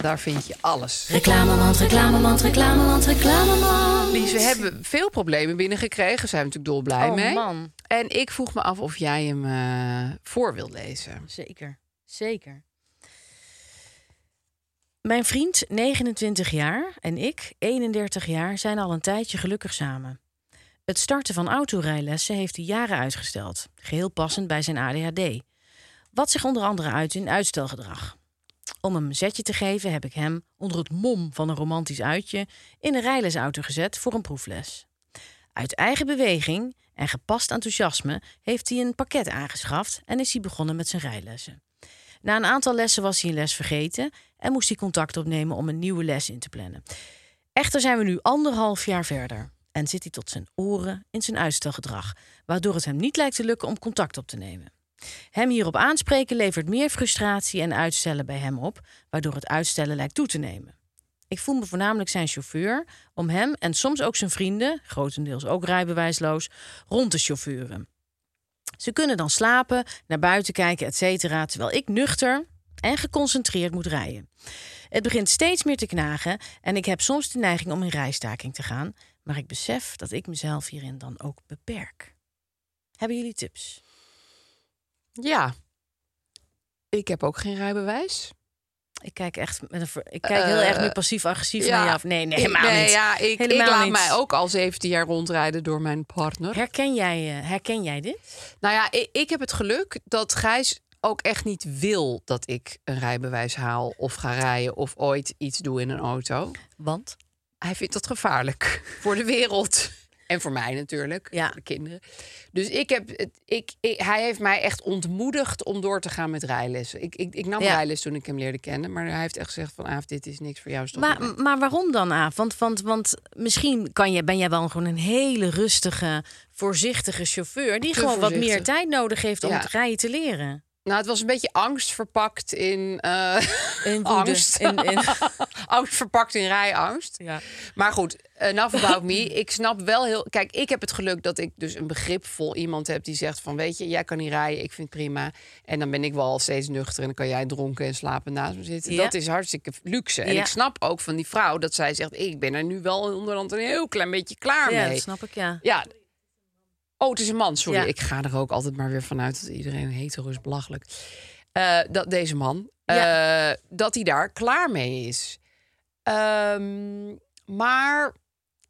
[SPEAKER 2] Daar vind je alles.
[SPEAKER 1] Reclamemand, reclamemand, reclamemand, reclamemand.
[SPEAKER 2] Lies, we hebben veel problemen binnengekregen. Zijn we natuurlijk dolblij
[SPEAKER 3] oh
[SPEAKER 2] mee.
[SPEAKER 3] man,
[SPEAKER 2] En ik vroeg me af of jij hem eh, voor wilt lezen.
[SPEAKER 3] zeker, zeker. Mijn vriend, 29 jaar, en ik, 31 jaar, zijn al een tijdje gelukkig samen. Het starten van autorijlessen heeft hij jaren uitgesteld, geheel passend bij zijn ADHD. Wat zich onder andere uit in uitstelgedrag. Om hem een zetje te geven heb ik hem, onder het mom van een romantisch uitje, in een rijlesauto gezet voor een proefles. Uit eigen beweging en gepast enthousiasme heeft hij een pakket aangeschaft en is hij begonnen met zijn rijlessen. Na een aantal lessen was hij een les vergeten en moest hij contact opnemen om een nieuwe les in te plannen. Echter zijn we nu anderhalf jaar verder en zit hij tot zijn oren in zijn uitstelgedrag, waardoor het hem niet lijkt te lukken om contact op te nemen. Hem hierop aanspreken levert meer frustratie en uitstellen bij hem op, waardoor het uitstellen lijkt toe te nemen. Ik voel me voornamelijk zijn chauffeur om hem en soms ook zijn vrienden, grotendeels ook rijbewijsloos, rond te chauffeuren. Ze kunnen dan slapen, naar buiten kijken, etc. Terwijl ik nuchter en geconcentreerd moet rijden. Het begint steeds meer te knagen en ik heb soms de neiging om in rijstaking te gaan. Maar ik besef dat ik mezelf hierin dan ook beperk. Hebben jullie tips?
[SPEAKER 2] Ja. Ik heb ook geen rijbewijs.
[SPEAKER 3] Ik kijk echt met een ver- ik kijk heel erg nu passief-agressief
[SPEAKER 2] Eh, ja.
[SPEAKER 3] naar je af. Nee, nee, helemaal
[SPEAKER 2] nee,
[SPEAKER 3] niet.
[SPEAKER 2] Ja, ik, ik
[SPEAKER 3] Helemaal
[SPEAKER 2] laat
[SPEAKER 3] niet.
[SPEAKER 2] mij ook al 17 jaar rondrijden door mijn partner.
[SPEAKER 3] Herken jij, eh, herken jij dit?
[SPEAKER 2] Nou ja, ik, ik heb het geluk dat Gijs ook echt niet wil dat ik een rijbewijs haal of ga rijden of ooit iets doe in een auto.
[SPEAKER 3] Want?
[SPEAKER 2] Hij vindt dat gevaarlijk voor de wereld. En voor mij natuurlijk,
[SPEAKER 3] Ja.
[SPEAKER 2] voor de kinderen. Dus ik heb, het- ik, ik- hij heeft mij echt ontmoedigd om door te gaan met rijlessen. Ik, ik, ik nam
[SPEAKER 3] Ja.
[SPEAKER 2] rijles toen ik hem leerde kennen. Maar hij heeft echt gezegd van, Aaf, dit is niks voor jou. Stop ermee."
[SPEAKER 3] Maar, maar waarom dan, Aaf? Want, want, want misschien kan je, ben jij wel gewoon een hele rustige, voorzichtige chauffeur... die
[SPEAKER 2] Te
[SPEAKER 3] gewoon wat meer
[SPEAKER 2] voorzichtig.
[SPEAKER 3] tijd nodig heeft om
[SPEAKER 2] Ja.
[SPEAKER 3] het rijden te leren.
[SPEAKER 2] Nou, het was een beetje angst verpakt in... eh,
[SPEAKER 3] In woede,
[SPEAKER 2] angst.
[SPEAKER 3] in- in-
[SPEAKER 2] angst verpakt in rijangst.
[SPEAKER 3] Ja.
[SPEAKER 2] Maar goed, eh, enough about me. Ik snap wel heel... Kijk, ik heb het geluk dat ik dus een begripvol iemand heb... die zegt van, weet je, jij kan niet rijden, ik vind het prima. En dan ben ik wel steeds nuchter... en dan kan jij dronken en slapen naast me zitten.
[SPEAKER 3] Ja.
[SPEAKER 2] Dat is hartstikke luxe. En
[SPEAKER 3] Ja.
[SPEAKER 2] ik snap ook van die vrouw dat zij zegt... ik ben er nu wel in onderhand een heel klein beetje klaar
[SPEAKER 3] ja,
[SPEAKER 2] mee.
[SPEAKER 3] dat snap ik, ja.
[SPEAKER 2] Ja. Oh, het is een man, sorry.
[SPEAKER 3] Ja.
[SPEAKER 2] Ik ga er ook altijd maar weer vanuit dat iedereen hetero is belachelijk. Eh, dat deze man, eh, dat hij daar klaar mee is. Ehm, maar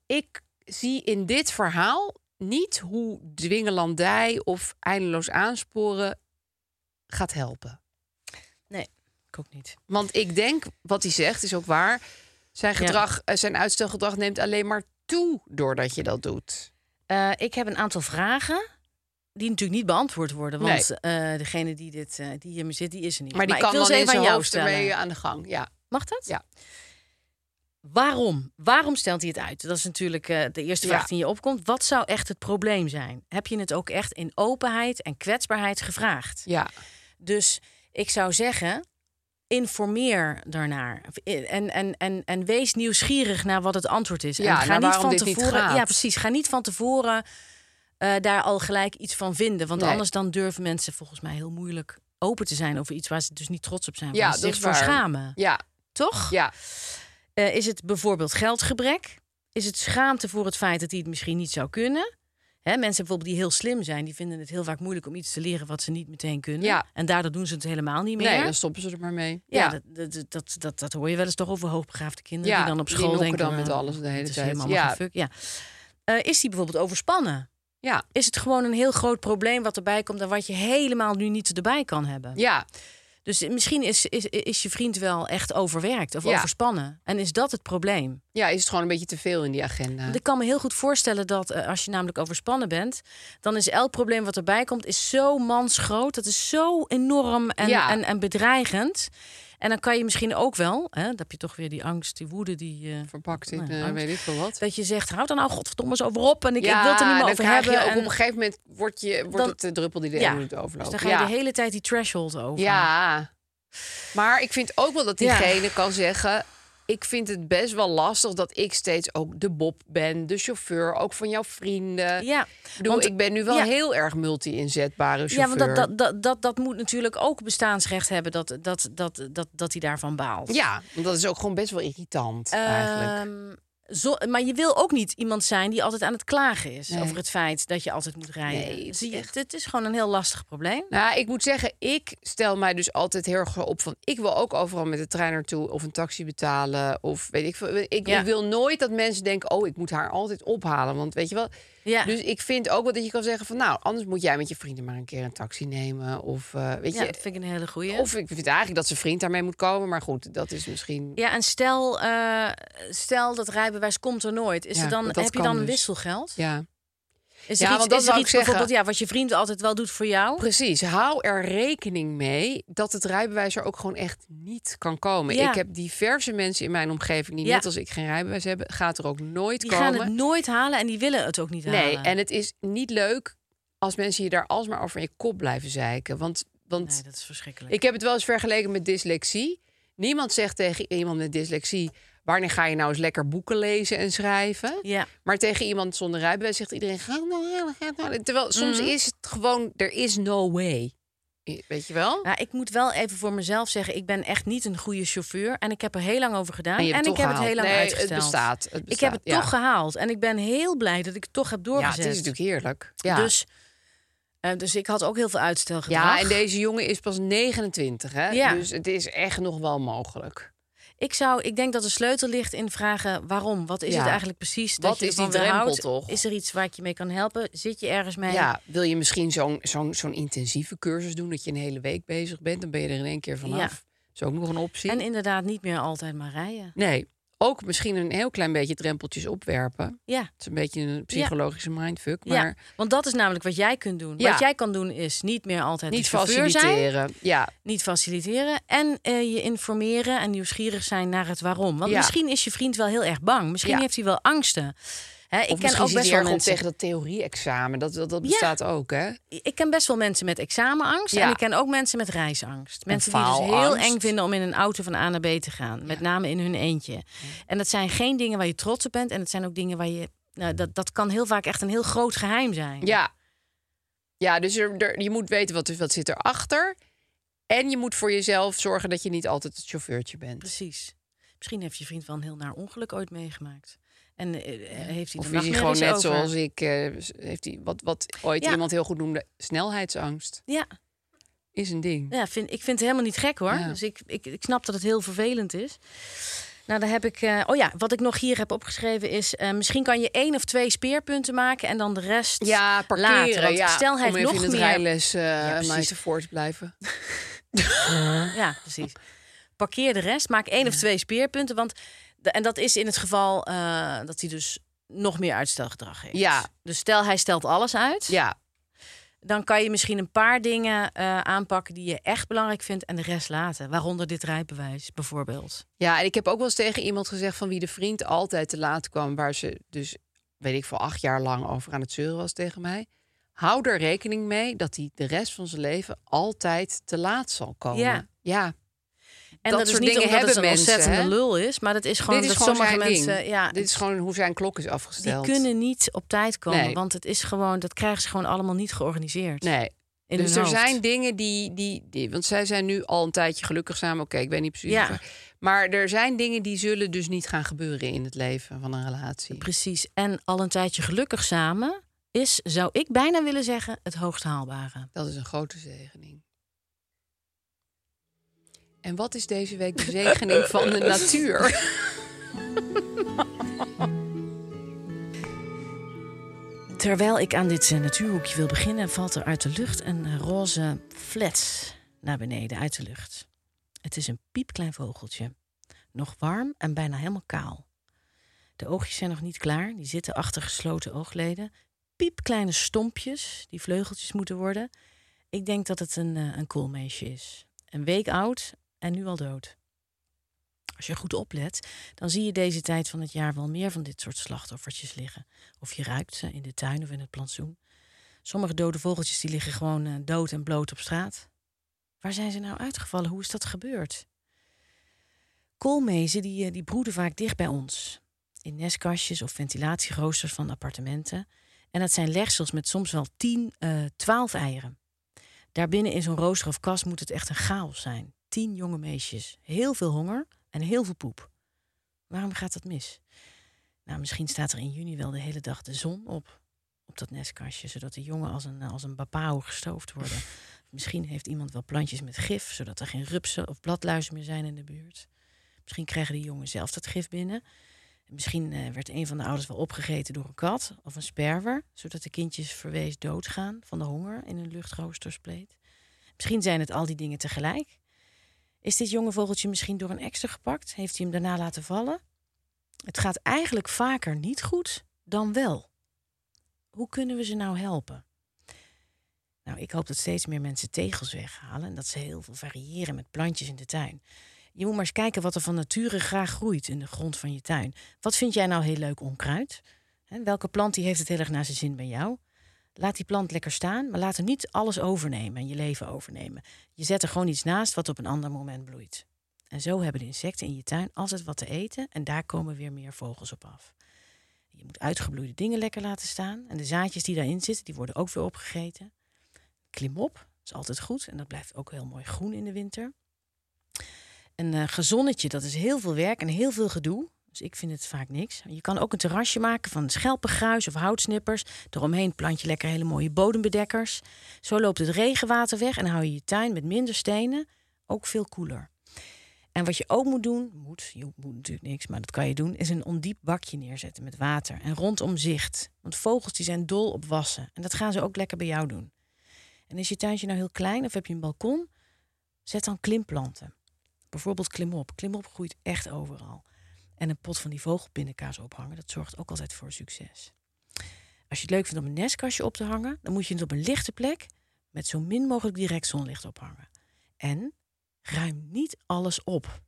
[SPEAKER 2] ik zie in dit verhaal niet hoe dwingelandij of eindeloos aansporen gaat helpen.
[SPEAKER 3] Nee, ik ook niet.
[SPEAKER 2] Want ik denk, wat hij zegt, is ook waar. Zijn,
[SPEAKER 3] Ja.
[SPEAKER 2] gedrag, eh, zijn uitstelgedrag neemt alleen maar toe doordat je dat doet.
[SPEAKER 3] Eh, ik heb een aantal vragen die natuurlijk niet beantwoord worden. Want eh, degene die, dit, eh, die hier zit, die is er niet.
[SPEAKER 2] Maar die
[SPEAKER 3] ik
[SPEAKER 2] kan
[SPEAKER 3] wil
[SPEAKER 2] dan
[SPEAKER 3] ze
[SPEAKER 2] in
[SPEAKER 3] even
[SPEAKER 2] zijn
[SPEAKER 3] aan jou
[SPEAKER 2] hoofd
[SPEAKER 3] stellen.
[SPEAKER 2] ermee aan de gang. Ja.
[SPEAKER 3] Mag dat?
[SPEAKER 2] Ja.
[SPEAKER 3] Waarom? Waarom stelt hij het uit? Dat is natuurlijk eh, de eerste vraag
[SPEAKER 2] Ja.
[SPEAKER 3] die in je opkomt. Wat zou echt het probleem zijn? Heb je het ook echt in openheid en kwetsbaarheid gevraagd?
[SPEAKER 2] ja.
[SPEAKER 3] Dus ik zou zeggen, informeer daarnaar. eh, En, en, en, en wees nieuwsgierig naar wat het antwoord is.
[SPEAKER 2] Ja,
[SPEAKER 3] en ga
[SPEAKER 2] naar
[SPEAKER 3] niet
[SPEAKER 2] waarom
[SPEAKER 3] van
[SPEAKER 2] dit niet
[SPEAKER 3] tevoren.
[SPEAKER 2] gaat.
[SPEAKER 3] ja, precies. Ga niet van tevoren eh, daar al gelijk iets van vinden. Want
[SPEAKER 2] Nee.
[SPEAKER 3] anders dan durven mensen volgens mij heel moeilijk open te zijn over iets waar ze dus niet trots op zijn.
[SPEAKER 2] Ja,
[SPEAKER 3] waar ze
[SPEAKER 2] dat
[SPEAKER 3] zich
[SPEAKER 2] is
[SPEAKER 3] voor
[SPEAKER 2] waar.
[SPEAKER 3] schamen.
[SPEAKER 2] Ja,
[SPEAKER 3] Toch?
[SPEAKER 2] ja,
[SPEAKER 3] Eh, is het bijvoorbeeld geldgebrek? Is het schaamte voor het feit dat hij het misschien niet zou kunnen? Hè, mensen bijvoorbeeld die heel slim zijn, die vinden het heel vaak moeilijk om iets te leren wat ze niet meteen kunnen.
[SPEAKER 2] Ja.
[SPEAKER 3] En daardoor doen ze het helemaal niet meer.
[SPEAKER 2] nee, dan stoppen ze er maar mee.
[SPEAKER 3] ja, Dat, dat, dat, dat, dat hoor je wel eens toch over hoogbegaafde kinderen
[SPEAKER 2] Ja,
[SPEAKER 3] die dan op
[SPEAKER 2] die
[SPEAKER 3] school
[SPEAKER 2] nokken
[SPEAKER 3] denken...
[SPEAKER 2] dan met
[SPEAKER 3] "Nou,
[SPEAKER 2] alles de hele
[SPEAKER 3] het is
[SPEAKER 2] tijd."
[SPEAKER 3] helemaal
[SPEAKER 2] Ja.
[SPEAKER 3] geen fuck. Ja. Eh, is die bijvoorbeeld overspannen?
[SPEAKER 2] ja,
[SPEAKER 3] Is het gewoon een heel groot probleem wat erbij komt en wat je helemaal nu niet erbij kan hebben?
[SPEAKER 2] ja.
[SPEAKER 3] Dus misschien is, is, is je vriend wel echt overwerkt of
[SPEAKER 2] Ja.
[SPEAKER 3] overspannen. En is dat het probleem?
[SPEAKER 2] Ja, is het gewoon een beetje te veel in die agenda.
[SPEAKER 3] Want ik kan me heel goed voorstellen dat eh, als je namelijk overspannen bent, dan is elk probleem wat erbij komt, is zo mansgroot. Dat is zo enorm en,
[SPEAKER 2] Ja.
[SPEAKER 3] en, en bedreigend. En dan kan je misschien ook wel, hè, dan heb je toch weer die angst, die woede, die. eh,
[SPEAKER 2] Verpakt in,
[SPEAKER 3] nou,
[SPEAKER 2] eh,
[SPEAKER 3] angst.
[SPEAKER 2] weet ik veel wat.
[SPEAKER 3] Dat je zegt, houd dan nou godverdomme eens over op. En ik,
[SPEAKER 2] ja,
[SPEAKER 3] ik wil het er niet meer
[SPEAKER 2] dan
[SPEAKER 3] over
[SPEAKER 2] krijg je
[SPEAKER 3] hebben.
[SPEAKER 2] ook
[SPEAKER 3] en-
[SPEAKER 2] op een gegeven moment wordt, je, wordt
[SPEAKER 3] Dan-
[SPEAKER 2] het de druppel die de
[SPEAKER 3] ja.
[SPEAKER 2] ja. doet
[SPEAKER 3] dus
[SPEAKER 2] overlopen.
[SPEAKER 3] dan ga je
[SPEAKER 2] ja.
[SPEAKER 3] de hele tijd die threshold over.
[SPEAKER 2] ja, maar ik vind ook wel dat
[SPEAKER 3] Ja.
[SPEAKER 2] diegene kan zeggen... ik vind het best wel lastig dat ik steeds ook de Bob ben, de chauffeur, ook van jouw vrienden.
[SPEAKER 3] Ja,
[SPEAKER 2] ik, bedoel,
[SPEAKER 3] want-
[SPEAKER 2] ik ben nu wel
[SPEAKER 3] ja.
[SPEAKER 2] heel erg multi-inzetbare chauffeur.
[SPEAKER 3] Ja, want dat, dat, dat, dat, dat moet natuurlijk ook bestaansrecht hebben dat, dat, dat, dat, dat hij daarvan baalt.
[SPEAKER 2] Ja, want dat is ook gewoon best wel irritant eigenlijk.
[SPEAKER 3] Ehm, zo, maar je wil ook niet iemand zijn die altijd aan het klagen is
[SPEAKER 2] Nee.
[SPEAKER 3] over het feit dat je altijd moet rijden.
[SPEAKER 2] Nee, het is
[SPEAKER 3] Zie je,
[SPEAKER 2] echt-
[SPEAKER 3] dit is gewoon een heel lastig probleem.
[SPEAKER 2] Nou, ik moet zeggen, ik stel mij dus altijd heel erg op van... ik wil ook overal met de trein naartoe of een taxi betalen of weet ik veel. Ik,
[SPEAKER 3] Ja.
[SPEAKER 2] ik wil nooit dat mensen denken, oh, ik moet haar altijd ophalen. Want weet je wel,
[SPEAKER 3] Ja.
[SPEAKER 2] dus ik vind ook wel dat je kan zeggen van... nou, anders moet jij met je vrienden maar een keer een taxi nemen. Of, eh, weet
[SPEAKER 3] ja,
[SPEAKER 2] je,
[SPEAKER 3] dat vind ik een hele goeie.
[SPEAKER 2] of ik vind eigenlijk dat zijn vriend daarmee moet komen. Maar goed, dat is misschien...
[SPEAKER 3] Ja, en stel, eh, stel dat rijbewijs komt er nooit. Is
[SPEAKER 2] Ja,
[SPEAKER 3] er dan,
[SPEAKER 2] dat
[SPEAKER 3] heb je
[SPEAKER 2] kan
[SPEAKER 3] dan een
[SPEAKER 2] dus.
[SPEAKER 3] wisselgeld?
[SPEAKER 2] Ja,
[SPEAKER 3] Is
[SPEAKER 2] Ja,
[SPEAKER 3] er iets,
[SPEAKER 2] want dat
[SPEAKER 3] is er
[SPEAKER 2] wou
[SPEAKER 3] iets
[SPEAKER 2] ik zeggen.
[SPEAKER 3] bijvoorbeeld ja, wat je vriend altijd wel doet voor jou?
[SPEAKER 2] precies. Hou er rekening mee dat het rijbewijs er ook gewoon echt niet kan komen.
[SPEAKER 3] Ja.
[SPEAKER 2] Ik heb diverse mensen in mijn omgeving die
[SPEAKER 3] Ja.
[SPEAKER 2] net als ik geen rijbewijs hebben... gaat er ook nooit
[SPEAKER 3] Die
[SPEAKER 2] komen.
[SPEAKER 3] gaan het nooit halen en die willen het ook niet
[SPEAKER 2] Nee,
[SPEAKER 3] halen.
[SPEAKER 2] en het is niet leuk als mensen je daar alsmaar over in je kop blijven zeiken. Want, want
[SPEAKER 3] nee, dat is verschrikkelijk.
[SPEAKER 2] ik heb het wel eens vergeleken met dyslexie. Niemand zegt tegen iemand met dyslexie... wanneer ga je nou eens lekker boeken lezen en schrijven?
[SPEAKER 3] Ja.
[SPEAKER 2] Maar tegen iemand zonder rijbewijs zegt iedereen... Ga het nou halen, ga het nou halen." Terwijl soms is het gewoon... er is no way. I- Weet je wel?
[SPEAKER 3] Nou, ik moet wel even voor mezelf zeggen, ik ben echt niet een goede chauffeur. En ik heb er heel lang over gedaan.
[SPEAKER 2] En je hebt
[SPEAKER 3] ik
[SPEAKER 2] het toch
[SPEAKER 3] heb het heel lang
[SPEAKER 2] gehaald. Nee, het
[SPEAKER 3] uitgesteld.
[SPEAKER 2] bestaat, het
[SPEAKER 3] ik heb
[SPEAKER 2] bestaat,
[SPEAKER 3] het
[SPEAKER 2] ja.
[SPEAKER 3] toch gehaald. En ik ben heel blij dat ik het toch heb
[SPEAKER 2] ja,
[SPEAKER 3] doorgezet.
[SPEAKER 2] het is natuurlijk heerlijk. Ja.
[SPEAKER 3] Dus, eh, dus ik had ook heel veel uitstelgedrag.
[SPEAKER 2] ja, en deze jongen is pas 29, hè?
[SPEAKER 3] Ja.
[SPEAKER 2] Dus het is echt nog wel mogelijk.
[SPEAKER 3] ik, zou, ik denk dat de sleutel ligt in vragen waarom. Wat is
[SPEAKER 2] Ja.
[SPEAKER 3] het eigenlijk precies dat
[SPEAKER 2] Wat
[SPEAKER 3] je
[SPEAKER 2] is die
[SPEAKER 3] ervan weer
[SPEAKER 2] drempel
[SPEAKER 3] houdt?
[SPEAKER 2] toch?
[SPEAKER 3] Is er iets waar ik je mee kan helpen? Zit je ergens mee?
[SPEAKER 2] Ja, wil je misschien zo'n zo'n zo'n intensieve cursus doen... dat je een hele week bezig bent, dan ben je er in één keer vanaf.
[SPEAKER 3] Ja.
[SPEAKER 2] Dat is ook nog een optie.
[SPEAKER 3] En inderdaad niet meer altijd maar rijden.
[SPEAKER 2] Nee, ook misschien een heel klein beetje drempeltjes opwerpen.
[SPEAKER 3] Ja.
[SPEAKER 2] Het is een beetje een psychologische mindfuck,
[SPEAKER 3] Ja,
[SPEAKER 2] maar
[SPEAKER 3] want dat is namelijk wat jij kunt doen.
[SPEAKER 2] Ja.
[SPEAKER 3] Wat jij kan doen is niet meer altijd
[SPEAKER 2] niet
[SPEAKER 3] de chauffeur zijn.
[SPEAKER 2] faciliteren. Ja,
[SPEAKER 3] niet faciliteren en eh, je informeren en nieuwsgierig zijn naar het waarom. Want
[SPEAKER 2] Ja.
[SPEAKER 3] misschien is je vriend wel heel erg bang. Misschien
[SPEAKER 2] Ja.
[SPEAKER 3] heeft hij wel angsten. Hè, ik
[SPEAKER 2] of
[SPEAKER 3] ken
[SPEAKER 2] misschien
[SPEAKER 3] ook
[SPEAKER 2] zit
[SPEAKER 3] best
[SPEAKER 2] je
[SPEAKER 3] wel
[SPEAKER 2] erg op
[SPEAKER 3] mensen.
[SPEAKER 2] tegen dat theorie-examen. Dat, dat, dat
[SPEAKER 3] Ja.
[SPEAKER 2] bestaat ook, hè?
[SPEAKER 3] Ik ken best wel mensen met examenangst en
[SPEAKER 2] Ja.
[SPEAKER 3] ik ken ook mensen met reisangst. Mensen die het dus heel
[SPEAKER 2] faalangst.
[SPEAKER 3] eng vinden om in een auto van A naar B te gaan, met name in hun eentje. En dat zijn geen dingen waar je trots op bent en dat zijn ook dingen waar je nou, dat, dat kan heel vaak echt een heel groot geheim zijn.
[SPEAKER 2] Ja. Ja, dus er, er- je moet weten wat, wat zit erachter. En je moet voor jezelf zorgen dat je niet altijd het chauffeurtje bent.
[SPEAKER 3] Precies. Misschien heeft je vriend wel een heel naar ongeluk ooit meegemaakt. En eh, heeft hij
[SPEAKER 2] Of
[SPEAKER 3] de
[SPEAKER 2] is hij
[SPEAKER 3] nachtmerries
[SPEAKER 2] gewoon net
[SPEAKER 3] over.
[SPEAKER 2] zoals ik, eh, s- heeft hij wat, wat ooit
[SPEAKER 3] Ja.
[SPEAKER 2] iemand heel goed noemde, snelheidsangst
[SPEAKER 3] Ja.
[SPEAKER 2] is een ding.
[SPEAKER 3] Ja, vind, ik vind het helemaal niet gek hoor.
[SPEAKER 2] Ja.
[SPEAKER 3] Dus ik, ik, ik snap dat het heel vervelend is. Nou, daar heb ik. eh, oh ja, wat ik nog hier heb opgeschreven is. eh, misschien kan je één of twee speerpunten maken en dan de rest.
[SPEAKER 2] Ja, parkeren,
[SPEAKER 3] later. Want
[SPEAKER 2] ja.
[SPEAKER 3] stel hij
[SPEAKER 2] Om
[SPEAKER 3] heeft
[SPEAKER 2] even
[SPEAKER 3] nog
[SPEAKER 2] in het
[SPEAKER 3] meer-
[SPEAKER 2] rijles eh
[SPEAKER 3] precies.
[SPEAKER 2] meisje voor te blijven.
[SPEAKER 3] Ja, precies. Parkeer de rest. Maak één of twee speerpunten. Want de- en dat is in het geval eh, dat hij dus nog meer uitstelgedrag heeft.
[SPEAKER 2] Ja.
[SPEAKER 3] Dus stel hij stelt alles uit.
[SPEAKER 2] Ja,
[SPEAKER 3] Dan kan je misschien een paar dingen eh, aanpakken die je echt belangrijk vindt en de rest laten. Waaronder dit rijbewijs bijvoorbeeld.
[SPEAKER 2] Ja, en ik heb ook wel eens tegen iemand gezegd van wie de vriend altijd te laat kwam, waar ze dus, weet ik veel, acht jaar lang over aan het zeuren was tegen mij. Hou er rekening mee dat hij de rest van zijn leven altijd te laat zal komen.
[SPEAKER 3] Ja.
[SPEAKER 2] ja.
[SPEAKER 3] En dat,
[SPEAKER 2] Dat
[SPEAKER 3] is
[SPEAKER 2] soort
[SPEAKER 3] niet
[SPEAKER 2] dingen
[SPEAKER 3] omdat het
[SPEAKER 2] hebben
[SPEAKER 3] een
[SPEAKER 2] mensen,
[SPEAKER 3] ontzettende
[SPEAKER 2] hè?
[SPEAKER 3] lul is, maar dat is gewoon
[SPEAKER 2] Dit is
[SPEAKER 3] dat
[SPEAKER 2] gewoon
[SPEAKER 3] sommige
[SPEAKER 2] zijn
[SPEAKER 3] mensen,
[SPEAKER 2] ding.
[SPEAKER 3] ja,
[SPEAKER 2] Dit is gewoon hoe zijn klok is
[SPEAKER 3] die
[SPEAKER 2] afgesteld.
[SPEAKER 3] kunnen niet op tijd komen,
[SPEAKER 2] Nee.
[SPEAKER 3] want het is gewoon dat krijgen ze gewoon allemaal niet georganiseerd.
[SPEAKER 2] Nee.
[SPEAKER 3] in
[SPEAKER 2] dus
[SPEAKER 3] hun
[SPEAKER 2] er
[SPEAKER 3] hoofd.
[SPEAKER 2] zijn dingen die, die, die. Want zij zijn nu al een tijdje gelukkig samen. Oké, ik weet niet precies.
[SPEAKER 3] Ja.
[SPEAKER 2] waar- Maar er zijn dingen die zullen dus niet gaan gebeuren in het leven van een relatie.
[SPEAKER 3] precies en al een tijdje gelukkig samen is, zou ik bijna willen zeggen, het hoogst haalbare.
[SPEAKER 2] Dat is een grote zegening. En wat is deze week de zegening van de natuur?
[SPEAKER 3] Terwijl ik aan dit eh, natuurhoekje wil beginnen, valt er uit de lucht een eh, roze flets naar beneden uit de lucht. Het is een piepklein vogeltje, nog warm en bijna helemaal kaal. De oogjes zijn nog niet klaar, die zitten achter gesloten oogleden. Piepkleine stompjes, die vleugeltjes moeten worden. Ik denk dat het een, eh, een koolmeisje is. Een week oud en nu al dood. Als je goed oplet, dan zie je deze tijd van het jaar wel meer van dit soort slachtoffertjes liggen. Of je ruikt ze in de tuin of in het plantsoen. Sommige dode vogeltjes die liggen gewoon eh, dood en bloot op straat. Waar zijn ze nou uitgevallen? Hoe is dat gebeurd? koolmezen die, eh, die broeden vaak dicht bij ons. In nestkastjes of ventilatieroosters van appartementen. En dat zijn legsels met soms wel 10, eh 12 eieren. Daarbinnen in zo'n rooster of kast moet het echt een chaos zijn. 10 jonge meisjes, heel veel honger en heel veel poep. Waarom gaat dat mis? Nou, misschien staat er in juni wel de hele dag de zon op, op dat nestkastje, zodat de jongen als een, als een babao gestoofd worden. Misschien heeft iemand wel plantjes met gif, zodat er geen rupsen of bladluizen meer zijn in de buurt. Misschien krijgen de jongen zelf dat gif binnen. En Misschien eh, werd een van de ouders wel opgegeten door een kat of een sperwer, zodat de kindjes verwees doodgaan van de honger in een luchtroosterspleet. Misschien zijn het al die dingen tegelijk. Is dit jonge vogeltje misschien door een ekster gepakt? Heeft hij hem daarna laten vallen? Het gaat eigenlijk vaker niet goed dan wel. Hoe kunnen we ze nou helpen? Nou, ik hoop dat steeds meer mensen tegels weghalen en dat ze heel veel variëren met plantjes in de tuin. Je moet maar eens kijken wat er van nature graag groeit in de grond van je tuin. Wat vind jij nou heel leuk onkruid? Hè, welke plant die heeft het heel erg naar zijn zin bij jou? Laat die plant lekker staan, maar laat er niet alles overnemen en je leven overnemen. Je zet er gewoon iets naast wat op een ander moment bloeit. En zo hebben de insecten in je tuin altijd wat te eten en daar komen weer meer vogels op af. Je moet uitgebloeide dingen lekker laten staan en de zaadjes die daarin zitten, die worden ook weer opgegeten klimop. Dat is altijd goed en dat blijft ook heel mooi groen in de winter. Een eh, gezonnetje, dat is heel veel werk en heel veel gedoe. Dus ik vind het vaak niks. Je kan ook een terrasje maken van schelpengruis of houtsnippers. Daaromheen plant je lekker hele mooie bodembedekkers. Zo loopt het regenwater weg en hou je je tuin met minder stenen ook veel koeler. En wat je ook moet doen, moet, je moet natuurlijk niks, maar dat kan je doen, is een ondiep bakje neerzetten met water en rondom zicht. Want vogels die zijn dol op wassen en dat gaan ze ook lekker bij jou doen. En is je tuintje nou heel klein of heb je een balkon? Zet dan klimplanten. Bijvoorbeeld klimop. Klimop groeit echt overal. En een pot van die vogelpindakaas ophangen, dat zorgt ook altijd voor succes. Als je het leuk vindt om een nestkastje op te hangen, dan moet je het op een lichte plek met zo min mogelijk direct zonlicht ophangen. En ruim niet alles op.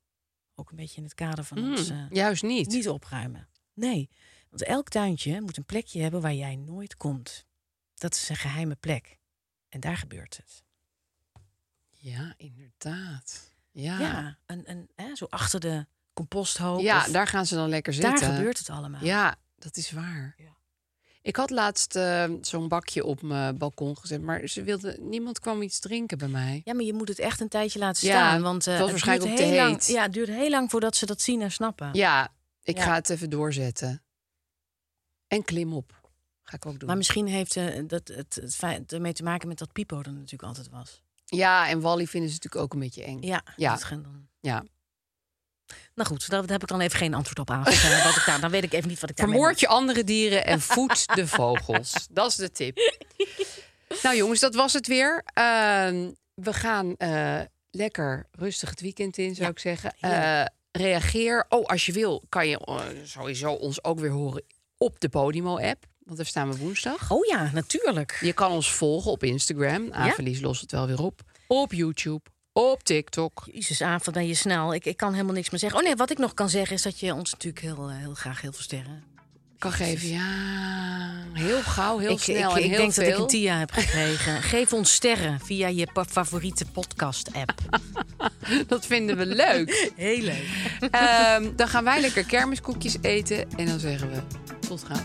[SPEAKER 3] Ook een beetje in het kader van
[SPEAKER 2] Mm,
[SPEAKER 3] ons eh,
[SPEAKER 2] Juist niet.
[SPEAKER 3] niet opruimen. Nee, want elk tuintje moet een plekje hebben waar jij nooit komt. Dat is een geheime plek. En daar gebeurt het.
[SPEAKER 2] Ja, inderdaad. Ja, ja,
[SPEAKER 3] Ja, een, een, hè, zo achter de composthoop. of-
[SPEAKER 2] daar gaan ze dan lekker
[SPEAKER 3] daar
[SPEAKER 2] zitten.
[SPEAKER 3] gebeurt het allemaal.
[SPEAKER 2] Ja, dat is waar.
[SPEAKER 3] Ja.
[SPEAKER 2] Ik had laatst eh, zo'n bakje op mijn balkon gezet, maar ze wilde, niemand kwam iets drinken bij mij.
[SPEAKER 3] Ja, maar je moet het echt een tijdje laten
[SPEAKER 2] Ja,
[SPEAKER 3] staan. want eh,
[SPEAKER 2] het was
[SPEAKER 3] duurt
[SPEAKER 2] waarschijnlijk ook te
[SPEAKER 3] heel lang-
[SPEAKER 2] heet.
[SPEAKER 3] ja, het duurt heel lang voordat ze dat zien en snappen.
[SPEAKER 2] Ja, ik
[SPEAKER 3] Ja.
[SPEAKER 2] ga het even doorzetten. En klim op. Ga ik ook doen.
[SPEAKER 3] Maar misschien heeft eh, dat, het, het feit ermee te maken met dat Pipo er natuurlijk altijd was.
[SPEAKER 2] Ja, en Wally vinden ze natuurlijk ook een beetje eng.
[SPEAKER 3] Ja,
[SPEAKER 2] Ja.
[SPEAKER 3] Dat gaan dan...
[SPEAKER 2] Ja.
[SPEAKER 3] Nou goed, daar daar heb ik dan even geen antwoord op aangegeven. wat ik daar, dan weet ik even niet wat ik daarmee
[SPEAKER 2] Vermoord je andere dieren en voed de vogels. Dat is de tip. Nou jongens, dat was het weer. Ehm, we gaan eh, lekker rustig het weekend in, zou
[SPEAKER 3] Ja,
[SPEAKER 2] ik zeggen.
[SPEAKER 3] heerlijk.
[SPEAKER 2] Eh, reageer. Oh, als je wil, kan je eh, sowieso ons ook weer horen op de Podimo-app. Want daar staan we woensdag.
[SPEAKER 3] Oh ja, natuurlijk.
[SPEAKER 2] Je kan ons volgen op Instagram. Aanverlies lost het wel weer op. Op YouTube. Op TikTok.
[SPEAKER 3] Jezus, Aaf, wat ben je snel. Ik, ik kan helemaal niks meer zeggen. Oh nee, wat ik nog kan zeggen is dat je ons natuurlijk heel, eh, heel graag heel veel sterren...
[SPEAKER 2] Kan geven. Ja, heel gauw, heel
[SPEAKER 3] ik,
[SPEAKER 2] snel
[SPEAKER 3] ik,
[SPEAKER 2] en
[SPEAKER 3] ik
[SPEAKER 2] heel
[SPEAKER 3] denk
[SPEAKER 2] veel.
[SPEAKER 3] dat ik een TIA heb gekregen. Geef ons sterren via je pa- favoriete podcast-app.
[SPEAKER 2] dat vinden we leuk.
[SPEAKER 3] Heel leuk.
[SPEAKER 2] Ehm, dan gaan wij lekker kermiskoekjes eten. En dan zeggen we tot gauw.